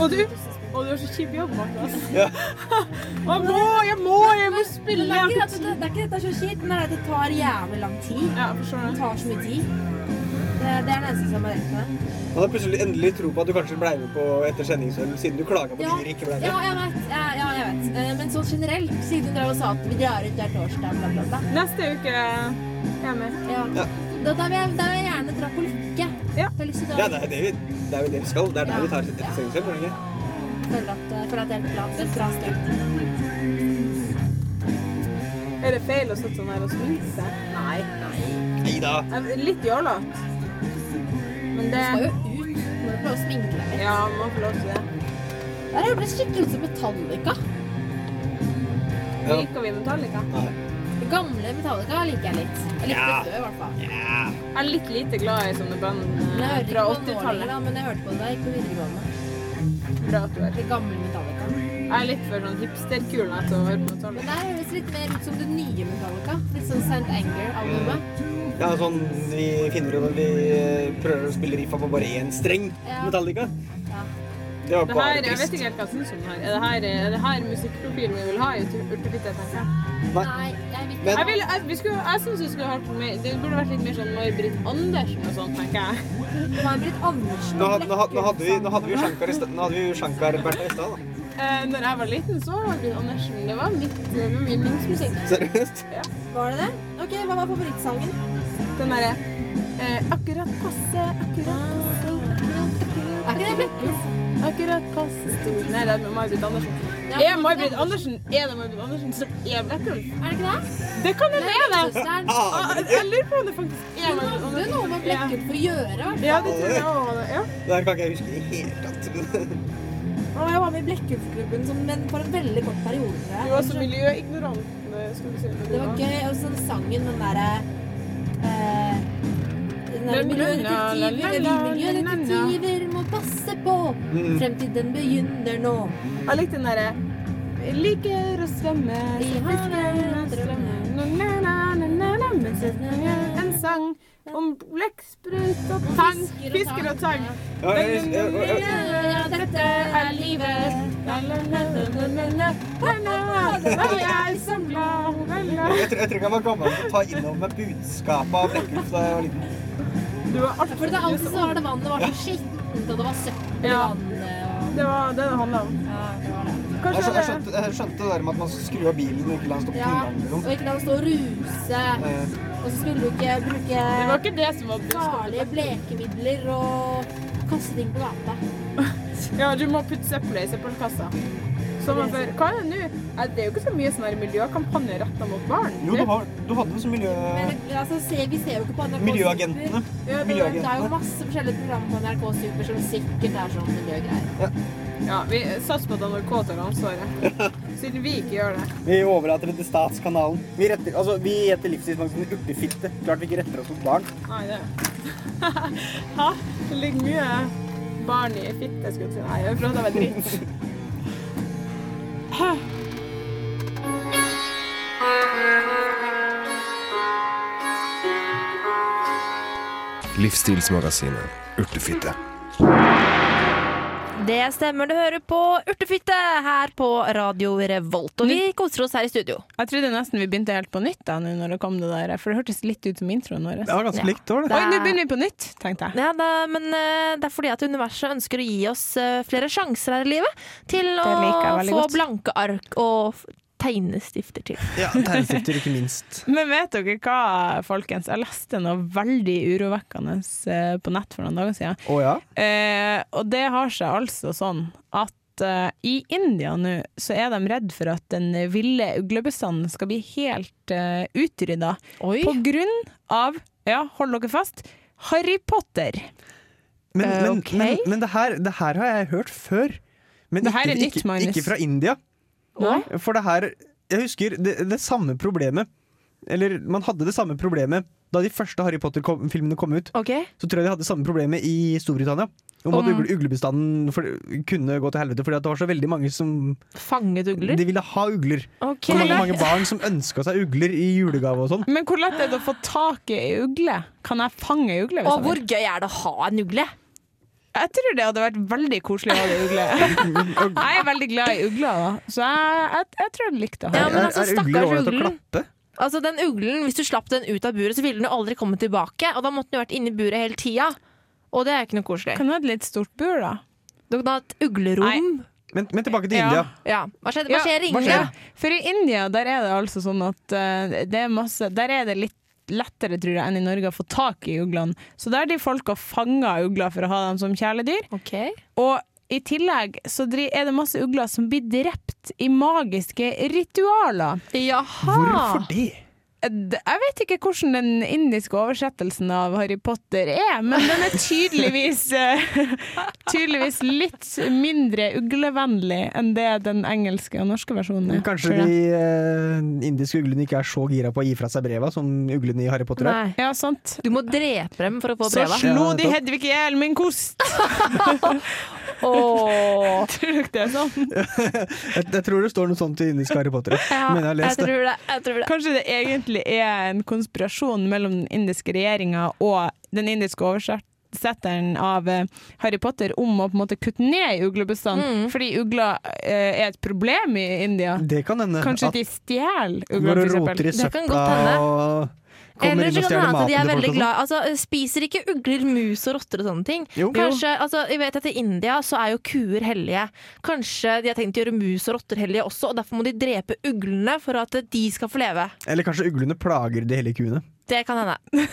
G: Og du? Og du har så kjip jobb, Martha. ass.
F: Ja.
G: <laughs> Å, Jeg må, jeg må, jeg må spille!
H: Men det, er ikke at det, det er ikke dette så kjipt, men det er at det tar jævlig lang tid. Det tar så mye tid. Det, det er det eneste som er rett med det.
F: Man har plutselig endelig tro på at du kanskje ble med på ettersendingskvelden siden du klaga på at
H: Ja,
F: dere ikke ble
H: ja,
F: med.
H: jeg vet. Ja, ja, jeg vet. Eh, Men sånn generelt, siden du drev og sa at vi drar ut der torsdag, bla, bla, bla.
G: Neste uke er jeg med.
H: Ja. Da, da, vil jeg, da vil jeg gjerne dra på lykke. Ja. Jeg har lyst til å
F: Ja, det
H: dra
F: er jo det, vi, det er jo det vi skal. Det er der vi tar ettersendingskveld. er det ikke?
H: Føler at, føler at det er et plan- et bra sted.
G: Er det feil å sitte sånn her og smile seg? Nei.
F: Neida.
G: Jeg er Litt jålete. Men det
H: Du skal jo ut. Du må jo prøve å sminke deg litt.
G: Ja, må få lov til det.
H: Der har det blitt skikkelig ut som Metallica.
F: Ja.
G: Liker vi Metallica?
H: Det gamle Metallica liker jeg litt. Jeg likte
G: Ja.
H: det før, i hvert fall.
G: Jeg er litt lite glad i sånne band
H: Men jeg
G: eh,
H: hørte
G: fra
H: ikke på den nå lenger,
G: 80-tallet.
H: da, men jeg hørte på det da jeg gikk på videregående.
G: Bra at du er
H: Det gamle Metallica.
G: Jeg er litt for sånn hipsterkul etter å høre på
H: Men
G: Metallica.
H: der høres litt mer ut som det nye Metallica. Litt sånn St. Anger-albumet.
F: Ja, sånn vi finner ut at vi prøver å spille riffa på bare én streng
H: Ja.
F: Metallica. Det var
G: Det
F: bare
G: her, jeg vet
F: trist.
G: ikke helt hva jeg syns om det her. Er det her, er det her musikkprofilen vi vil ha i Urtefitte, tenker jeg?
H: Nei, jeg vil
G: jeg vil, jeg, vi skulle, jeg syns vi skulle hørt mer Det burde vært litt mer sånn May-Britt Andersen og sånn, tenker jeg. <laughs>
H: May-Britt Andersen?
F: Nå, had- nå, had- nå hadde vi, nå hadde vi jo Shankar i stad- nå hadde vi jo Shankar Bertha i stad, da.
G: Eh, når jeg var liten, så var Britt Andersen Det var mitt eh, min yndlingsmusikk.
F: Seriøst?
G: Ja.
H: Var det det? Ok, hva var favorittsangen?
G: Den derre eh, Akkurat passe, akkurat passe, akkurat
H: Er ikke det Blekkes?
G: Akkurat passe stor Nei, det er med May-Britt Andersen.
H: Ja,
G: Er May-Britt Andersen Er det May-Britt Andersen som er Blekkulf?
H: Er det ikke det?
G: Det kan hende det er det!
H: Lillesøsteren.
G: Ah, Jeg lurer på om det faktisk er
H: Hun hadde noe med Blekkulf å gjøre, i hvert fall.
G: Ja, det tror jeg også. Ja.
F: Det her kan ikke jeg huske i det hele tatt.
H: Og jeg var med i Blekkulfklubben som- men for en veldig kort periode. tror jeg.
G: Du var så miljøignorant. eh, skulle du si. når du
H: Det var gøy. Og så sangen, den derre eh, den
G: La, la, la,
H: der
G: la,
H: Miljødetektiver,
G: la,
H: vi miljødetektiver må passe på.
G: Mm.
H: Fremtiden begynner nå.
G: Jeg likte den derre Jeg liker å svømme,
H: I
G: så
H: havet
G: fisker jeg na, na, na, na, na, na, mens jeg synger En sang om blekksprut og tang. Fisker og tang.
F: Ja, jeg hus- jeg- jeg- jeg-
H: Ja, dette er livet.
G: La, la, la, la, la, la, la. La, la, la, la, jeg som la, la, la.
F: jeg tror jeg tror ikke jeg var gammel til å ta innover meg budskapet av Blekkulf da jeg var liten.
H: For det er alltid så var det vannet var så skittent, og det var søppel i
G: Ja.
H: vannet.
G: Det var det det handla om.
F: Jeg
G: Kanskje
F: skjønte, jeg, skjønte, jeg skjønte det der med at man skal skru av bilen og ikke la den stå på
H: Ja,
F: inngangen eller
H: og
F: noe.
H: ikke la det stå og ruse. Og så skulle du ikke bruke
G: Det var ikke det som var budskapet.
H: farlige blekemidler og kaste ting på gata.
G: Ja, du må putte søppelet i søppelkassa. Som man før. Hva er det nå? Eh, Det er jo ikke så mye sånn her miljøkampanje retta mot barn.
F: Jo, du, har, du hadde jo så miljø...
H: Men altså, se, vi ser jo ikke på NRK
F: Miljøagentene.
H: Super. Ja, det, det er jo
F: Miljøagentene.
H: masse forskjellige program på NRK Super som sikkert er sånn miljøgreier.
G: Ja, vi satser på at NRK tar ansvaret. Siden vi ikke gjør det.
F: Vi overlater det til Statskanalen. Vi, retter, altså, vi heter Livstidsmagasinet Urtefitte. Klart vi ikke retter oss mot barn.
G: Nei, det <laughs> Hæ? Det ligger mye barn i fitte, skulle jeg si. Nei, jeg prøvde å være dritt. Hæ?
K: Livsstilsmagasinet Urtefitte.
E: Det stemmer, du hører på Urtefitte her på Radio Revolt. Og
G: Mm.
E: vi koser oss her i studio.
G: <laughs> Jeg trodde nesten vi begynte helt på nytt da, nå når det kom det der, for det hørtes litt ut som introen vår.
E: Det var ganske Ja. likt, det var det.
G: Oi, nå begynner vi på nytt, tenkte jeg.
E: Ja, det, men eh, det er fordi at universet ønsker å gi oss eh, flere sjanser her i livet til å
G: liker jeg
E: få
G: veldig godt.
E: blanke ark og f- tegnestifter til.
Q: Tegnestifter, ikke minst.
F: <laughs>
G: Men vet dere hva, folkens? Jeg leste noe veldig urovekkende eh, på nett for noen dager siden.
Q: Å ja?
G: Eh, og det har seg altså sånn at eh, i India nå så er de redd for at den ville uglebestanden skal bli helt eh, utrydda. På grunn av, ja, hold dere fast, Harry Potter.
Q: Men,
G: Eh,
Q: men,
G: ok.
Q: men, men det, her, det her har jeg hørt før. Men
G: Det her
Q: ikke,
G: er nytt,
Q: ikke,
G: Magnus.
Q: ikke fra India.
G: Nei?
Q: For det her Jeg husker det, det samme problemet
F: Eller man hadde det samme problemet da de første Harry Potter-filmene kom ut. Så tror jeg de hadde samme problemet i Storbritannia. Om at
E: Om-
F: ugle- uglebestanden for, kunne gå til helvete fordi at det var så veldig mange som
E: Fanget ugler?
F: De ville ha ugler.
E: Ok.
F: Og det var mange barn som ønska seg ugler i julegave og sånn.
G: Men hvor lett er det å få tak i ei ugle? Kan jeg fange ei ugle? hvis jeg
E: Og hvor
G: vil?
E: gøy er det å ha en ugle?
G: Jeg tror det hadde vært veldig koselig å ha det ugle.
E: <laughs>
G: jeg er veldig glad i ugler, da. så jeg, jeg, jeg tror jeg hadde likt det.
E: Ja, men
F: Er-
E: altså,
F: er ugler
E: stakkars
F: ålreit å
E: uglen.
F: klappe?
E: Altså, den uglen, Hvis du slapp den ut av buret, så ville den jo aldri komme tilbake. Og da måtte den jo vært inni buret hele tida. Og det er jo ikke noe koselig.
G: Kan du ha et litt stort bur, da?
E: Du kan ha et uglerom.
F: Men, men tilbake til
G: Ja.
F: India.
E: Ja. Hva skjer, hva skjer i India?
G: For i India der er det altså sånn at eh, det er masse Der er det litt lettere tror jeg, enn i Norge å få tak i uglene. Så der de folka fanger ugler for å ha dem som kjæledyr. Og i tillegg så dri- er det masse ugler som blir drept i magiske ritualer.
E: Hvorfor
F: det?
G: D- Jeg vet ikke hvordan den indiske oversettelsen av Harry Potter er, men den er tydeligvis, eh, <laughs> tydeligvis litt mindre uglevennlig enn det den engelske og norske versjonen er.
F: Kanskje
G: tror jeg.
F: de eh, indiske uglene ikke er så gira på å gi fra seg breva som uglene i Harry Potter er.
E: Nei. Du må drepe dem for å få
G: Så
E: breva.
G: slo de Hedvig i hjel med en kost! <laughs>
F: <laughs>
E: Åh.
G: Tror dere det er sånn?
F: Jeg, jeg tror det står noe sånt i indiske Harry Potter. men jeg har lest det.
G: Kanskje det egentlig er en konspirasjon mellom den indiske regjeringa og den indiske oversetteren av eh, Harry Potter om å på en måte kutte ned i
E: Mm.
G: uglebestanden, fordi ugler eh, er et problem i India.
F: Det kan hende.
G: Kanskje
F: at
G: de stjeler
F: Når
G: ugler,
F: du roter i
G: f.eks.
E: Det kan
F: søpla
E: godt hende.
F: og kommer
E: Eller
F: inn
E: så
F: og
E: kan det
F: stjeler
E: hende at de er
F: maten
E: veldig
F: til folk og sånn.
E: glad altså, Spiser ikke ugler mus og rotter og sånne ting?
F: Jo.
E: Kanskje, altså, jeg vet at I India så er jo kuer hellige. Kanskje de har tenkt å gjøre mus og rotter hellige også, og derfor må de drepe uglene for at de skal få leve.
F: Eller kanskje uglene plager de hele kuene.
E: Det kan
F: <laughs>
E: hende.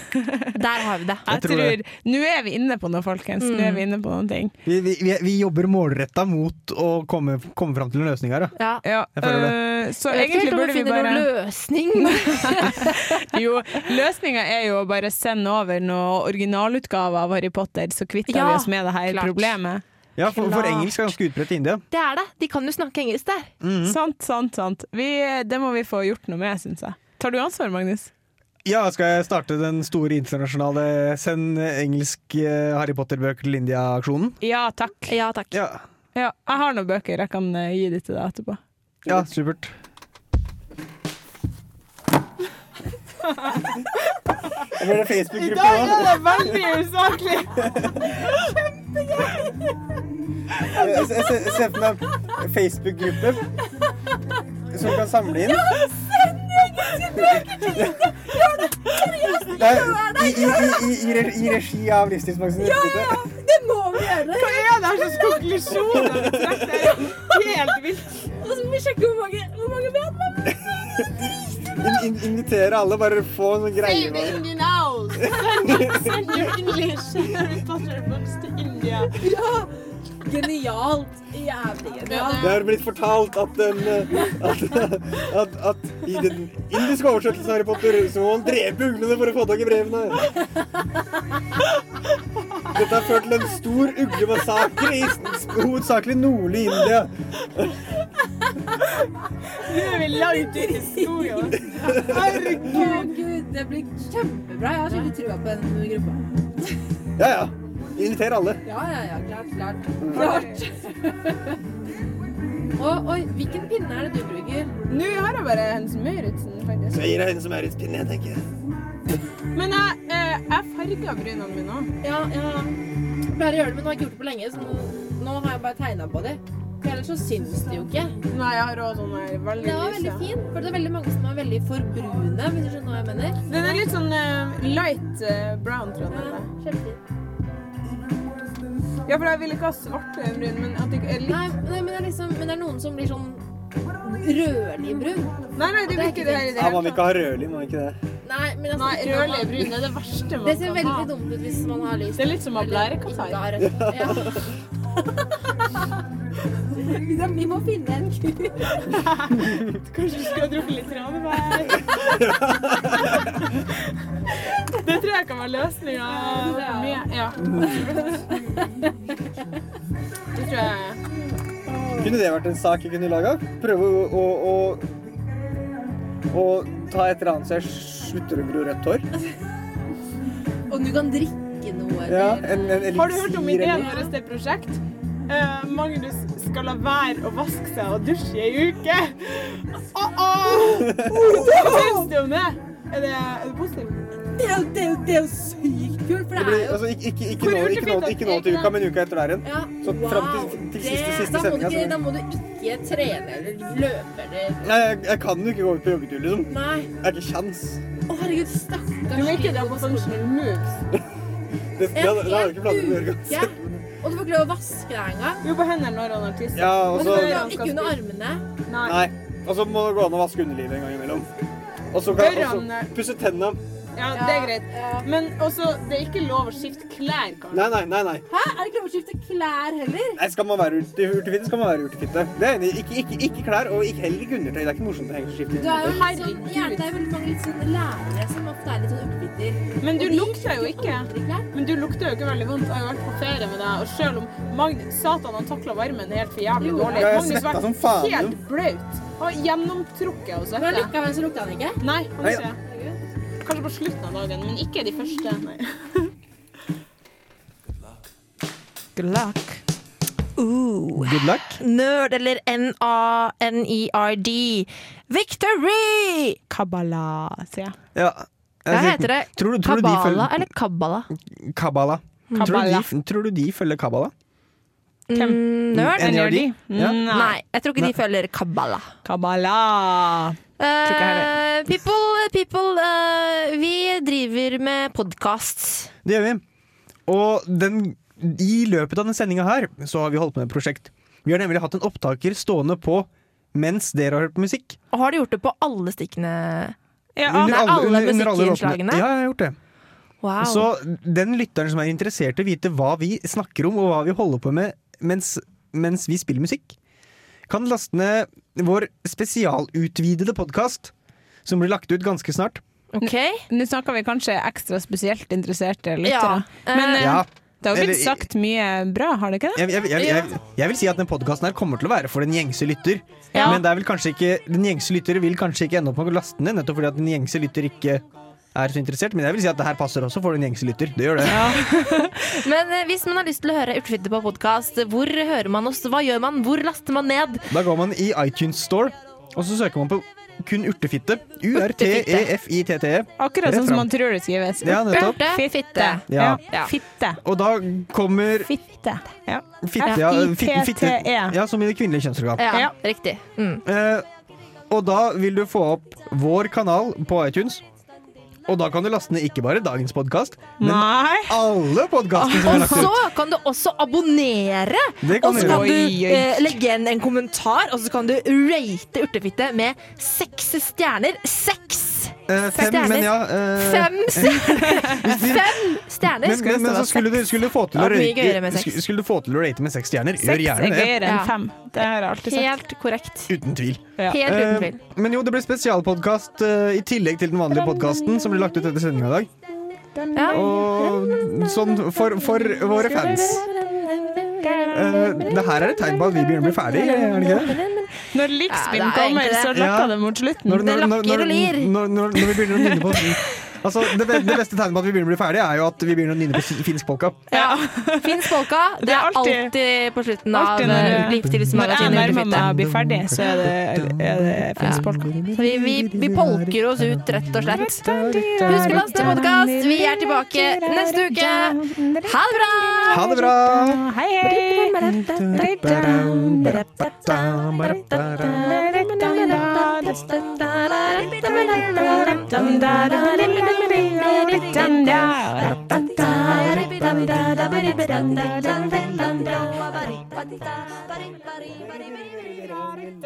E: Der har vi det.
G: Jeg
F: tror
G: tror,
F: det.
G: Nå er vi inne på noe, folkens. Nå
E: Mm.
G: er vi inne på noen ting.
F: Vi, vi, vi, vi jobber målretta mot å komme, komme fram til en løsning her, ja.
G: Ja,
F: Jeg føler det.
G: øh, så
E: Jeg vet ikke
G: egentlig
E: helt om vi
G: burde vi
E: finner
G: bare
E: noen løsning.
F: <laughs>
G: <laughs> Jo, løsninga er jo å bare sende over noe originalutgave av Harry Potter, så kvitter
E: Ja,
G: vi oss med det her
E: klart.
G: problemet.
F: ja for, for
G: Klart.
F: engelsk er ganske utbredt i India.
E: Det er det. De kan jo snakke engelsk der.
G: Sant, sant, sant. Vi, det må vi få gjort noe med, syns jeg. Tar du ansvar, Magnus?
F: Ja, skal jeg starte den store internasjonale send engelsk eh, Harry Potter-bøker til India-aksjonen?
G: Ja takk.
E: Ja, takk.
F: Ja.
G: jeg har noen bøker. Jeg kan eh, gi de til deg etterpå.
F: Ja, supert.
R: Jeg ble det
G: I
R: Facebook-gruppe
G: dag er
R: nå.
G: det veldig usaklig!
R: Jeg jeg- jeg ser for meg en Facebook-gruppe som kan samle inn. Nei, i, i, i, i, re- I regi av Livsstilsmagasinet.
H: Det må vi gjøre!
G: Hva er det her slags konklusjon? Det er jo helt vilt.
H: Og så må vi sjekke hvor mange, hvor mange vi hadde.
R: In, in, invitere alle, bare få en sånn greie.
S: Save
R: bare.
S: Indian owls! Send your English Harry Potter books to India.
H: Ja! Genialt. Jævlig genialt.
R: Det har blitt fortalt at, den, eh, at, <laughs> at, at i den indiske oversettelsen av Harry Potter så må man drepe uglene for å få tak i brevene. Dette har ført til en stor uglemassakre i s- hovedsakelig nordlig India.
G: Nå er vi langt ute i historien.
H: Å, Gud, det blir kjempebra. Jeg har skikkelig trua på den gruppa.
R: Ja, ja. Inviter alle.
H: Ja, ja, ja. Klart, klart. klart. og, oi, hvilken pinne er det du bruker?
G: Nå har jeg bare Hans Møyritsen,
R: Så
G: faktisk.
R: jeg gir deg en som er litt pinne, tenker jeg.
G: Men jeg, eh, jeg farga brynene mine òg.
H: Ja, ja. Jeg pleier å gjøre det, men nå har jeg ikke gjort det på lenge, så nå, nå har jeg bare tegna på dem. For ellers så syns det jo ikke.
G: Nei, jeg har òg sånn her
H: Men
G: veldig
H: Den var veldig fin, for det er veldig mange som er veldig forbrune, hvis du skjønner hva jeg mener.
G: Den er litt sånn eh, light eh, brown, tror jeg. den er.
H: Kjempefin.
G: Ja, for jeg vil ikke ha svarte bryn, men at det ikke er litt
H: Nei, nei men, det er liksom, men det er noen som blir sånn rødlig brun.
G: Nei, nei, det blir ikke det her i det
R: Ja, man
G: hele
R: vil ikke ha rødlig, man vil ikke det.
H: Nei, men altså,
G: Nei,
H: ikke noe-
G: rødlig bryn er det verste man
H: Det ser
G: kan
H: veldig
G: ha.
H: dumt ut hvis man har lyst.
G: Det er litt som å ha blærekatarr.
H: Ikke har rødt. Ja. Liksom, <laughs> Vi må finne en kur.
G: Kanskje du skulle ha drukket litt tranebær? <laughs> Det tror jeg kan være løsninga. Ja. <laughs> Det tror jeg.
R: Kunne det vært en sak jeg kunne laga? Prøve å, å, å
I: og ta et eller annet så jeg slutter å gro rødt hår.
H: Og du kan drikke noe.
I: Ja,
H: eller-
I: en, en
G: Har du hørt om
I: elixir
G: ideen
I: eller-
G: vår til prosjekt? Eh, Magnus skal la være å vaske seg og dusje i ei uke. Åh, åh! Hva syns du om det? Er det, er det positivt?
H: Det er jo- det er jo- det er jo sykt kult, for det
I: Det
H: er
I: blir,
H: jo
I: altså, ikke, ikke, ikke,
H: Hvor
I: nå,
H: hurtig
I: ikke, nå,
H: fint at-
I: ikke nå til uka, men uka etter der igjen.
H: Ja.
I: Så fram til, til siste, altså.
H: Det-
I: siste
H: da må du
I: sendinga.
H: ikke- Da må du ikke trene eller løpe eller
I: Nei, jeg, jeg kan jo ikke gå ut på joggetur, liksom.
H: Nei.
I: Jeg har ikke kjans.
H: Å, herregud, stakkars
G: Du må ikke dra på sånn functional moves.
I: Det, det, hadde- det har jeg ikke planer om å gjøre.
H: Ja. Og du får ikke lov å vaske deg engang.
G: Jo, på hendene når han har tisset.
I: <laughs> Ja, og
H: Og du
I: så
H: får ikke- ikke under armene.
I: Nei. Og så må det gå an å vaske underlivet en gang imellom. Og så kan og så
G: Ørene.
I: pusse tenna.
G: Ja, det er greit. Men også, det er ikke lov å skifte klær, kanskje.
I: Nei, nei, nei. nei.
H: Hæ? Er det ikke lov å skifte klær heller?
I: Nei, skal man være urte- urtefitte, skal man være urtefitte. Det er jeg enig. i. Ikke, ikke, ikke klær, og ikke, heller ikke undertøy. Det er ikke morsomt å henge så skift i
H: Du er jo
I: undertøy.
H: litt sånn, gjerne, det er veldig mange litt sånn lærere som ofte er litt sånn oppbitter.
G: Men du
H: Og de
G: lukter jo ikke. Men du lukter jo ikke veldig vondt. Jeg har jo vært på ferie med deg, og selv om Magnus Satan han takla varmen helt for jævlig dårlig.
I: Ja, jeg
G: Magnus
I: svetta
G: vært
I: som faen,
G: helt bløt. Og gjennomtrukket og svette.
H: Men likevel så lukter han ikke?
G: Nei, han
I: Nei,
G: gjør ikke det. Kanskje på slutten av dagen, men ikke de første. Nei.
N: Good luck.
E: Ooh.
F: Good luck.
E: Uh. Nerd eller N-A-N-E-R-D. Victory!
N: Kabbala, sier jeg.
F: Ja.
E: Hva heter det?
F: Tror du, tror du de
E: Kabala
F: følger Mm.
E: eller kabbala?
F: Kabbala. Tror, du
E: Kabbala.
F: de, tror du de følger Kabbala?
N: Hvem?
E: Nerd?
F: NRD? Ja.
E: Nei, jeg tror ikke de følger kabbala.
N: Kabbala. Tror ikke jeg
E: Eh, people, people eh, vi driver med podkast.
F: Det gjør vi. Og den, i løpet av den sendinga her, så har vi holdt på med et prosjekt. Vi har nemlig hatt en opptaker stående på mens dere har hørt på musikk.
E: Og har du gjort det på alle stikkene?
F: Under
E: Nei,
F: Ah, alle-
E: alle
F: under alle låtene.
E: musikkinnslagene?
F: Ja, jeg har gjort det.
E: Wow.
F: Så den lytteren som er interessert i å vite hva vi snakker om, og hva vi holder på med mens, mens vi spiller musikk, kan laste ned vår spesialutvidede podkast, som blir lagt ut ganske snart.
N: Nå snakker vi kanskje ekstra spesielt interesserte
E: Ja.
N: lyttere. Men eh,
F: Ja.
N: det har jo
F: Eller-
N: blitt sagt mye bra, har det ikke det?
F: Jeg, jeg, jeg, jeg, jeg vil si at den podkasten her kommer til å være for den gjengse lytter.
N: Ja.
F: Men det er vel kanskje ikke, den gjengse lytter vil kanskje ikke ende opp med å laste den ned, nettopp fordi at den gjengse lytter ikke er så interessert. Men jeg vil si at det her passer også for den gjengse lytter. Det gjør det.
E: Men eh, hvis man har lyst til å høre Urtefitte på podkast, hvor hører man oss? Hva gjør man? Hvor laster man ned?
F: Da går man i iTunes Store, og så søker man på kun urtefitte. E U-r-t-e-f-i-t-t-e.
N: Akkurat sånn som man tror det skrives.
F: Ja, nettopp.
N: Urte, Fitte.
F: Ja.
N: Ja. Fitte.
F: Og da kommer
N: Fitte. Ja.
F: Fitte, ja, fitte, fitte,
N: F-I-T-T-E.
F: ja, som i det kvinnelige kjønnsorgan.
E: Ja, riktig. Mm.
F: Eh, og da vil du få opp vår kanal på iTunes. Og da kan du laste ned ikke bare dagens podkast, men alle podkastene som er
E: Og
F: lagt
E: så
F: ut.
E: kan du også abonnere!
F: Det kan
E: og så
F: du
E: kan
F: gjøre.
E: du
F: Oi, oi.
E: eh, legge igjen en kommentar, og så kan du rate Urtefitte med seks stjerner. Seks!
F: Eh, fem,
E: stjerner.
F: men ja eh,
E: Fem stjerner! Fem stjerner!
F: Men, men, men så skulle du, skulle du få til å
E: Ja, mye gøyere
F: rate
E: med seks.
F: skulle, skulle du få til å rate med seks stjerner, gjør
N: Seks
F: gjerne
N: er
F: det.
N: gøyere enn fem. Det har jeg alltid sagt.
E: Helt korrekt.
F: Uten tvil.
N: Ja.
E: Helt uten
F: Eh,
E: tvil.
F: men jo, det blir spesialpodkast eh, i tillegg til den vanlige podkasten som blir lagt ut etter sendinga i dag.
E: Ja.
F: Og sånn for, for våre fans. Eh, det her er et tegn på at vi begynner å bli ferdig, er det ikke det?
N: Når Likspinn
E: Ja, det er
N: kommer,
E: egentlig
N: så
E: det.
N: lakker
F: Ja.
N: det mot slutten.
F: Når, når, når, når,
E: og lir.
F: når, når, når vi begynner å nynne på Altså, det, be- det beste tegnet på at vi begynner å bli ferdig, er jo at vi begynner å nynne på finskpolka.
E: Finskpolka, det er
N: alltid-
E: alltid på slutten av
N: Alltid når,
E: eh,
N: når jeg
E: Livsstilsmagasinet
N: nærmer
E: Urtefitte.
N: meg å bli ferdig, så er det, er det finsk polka.
E: Så Vi, vi, vi polker oss ut, rett og slett. Husk å laste podkast. Vi er tilbake neste uke. Ha det bra!
F: Ha det bra!
N: Hei, hei!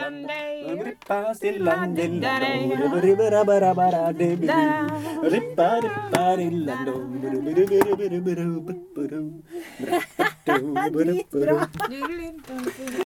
I: Rippa stilla dilla do, ribba rabba rabba ra di bi di. Rippa rippa dilla do, bru bru bru bru bru bru bru bru. Rappa do, bru bru.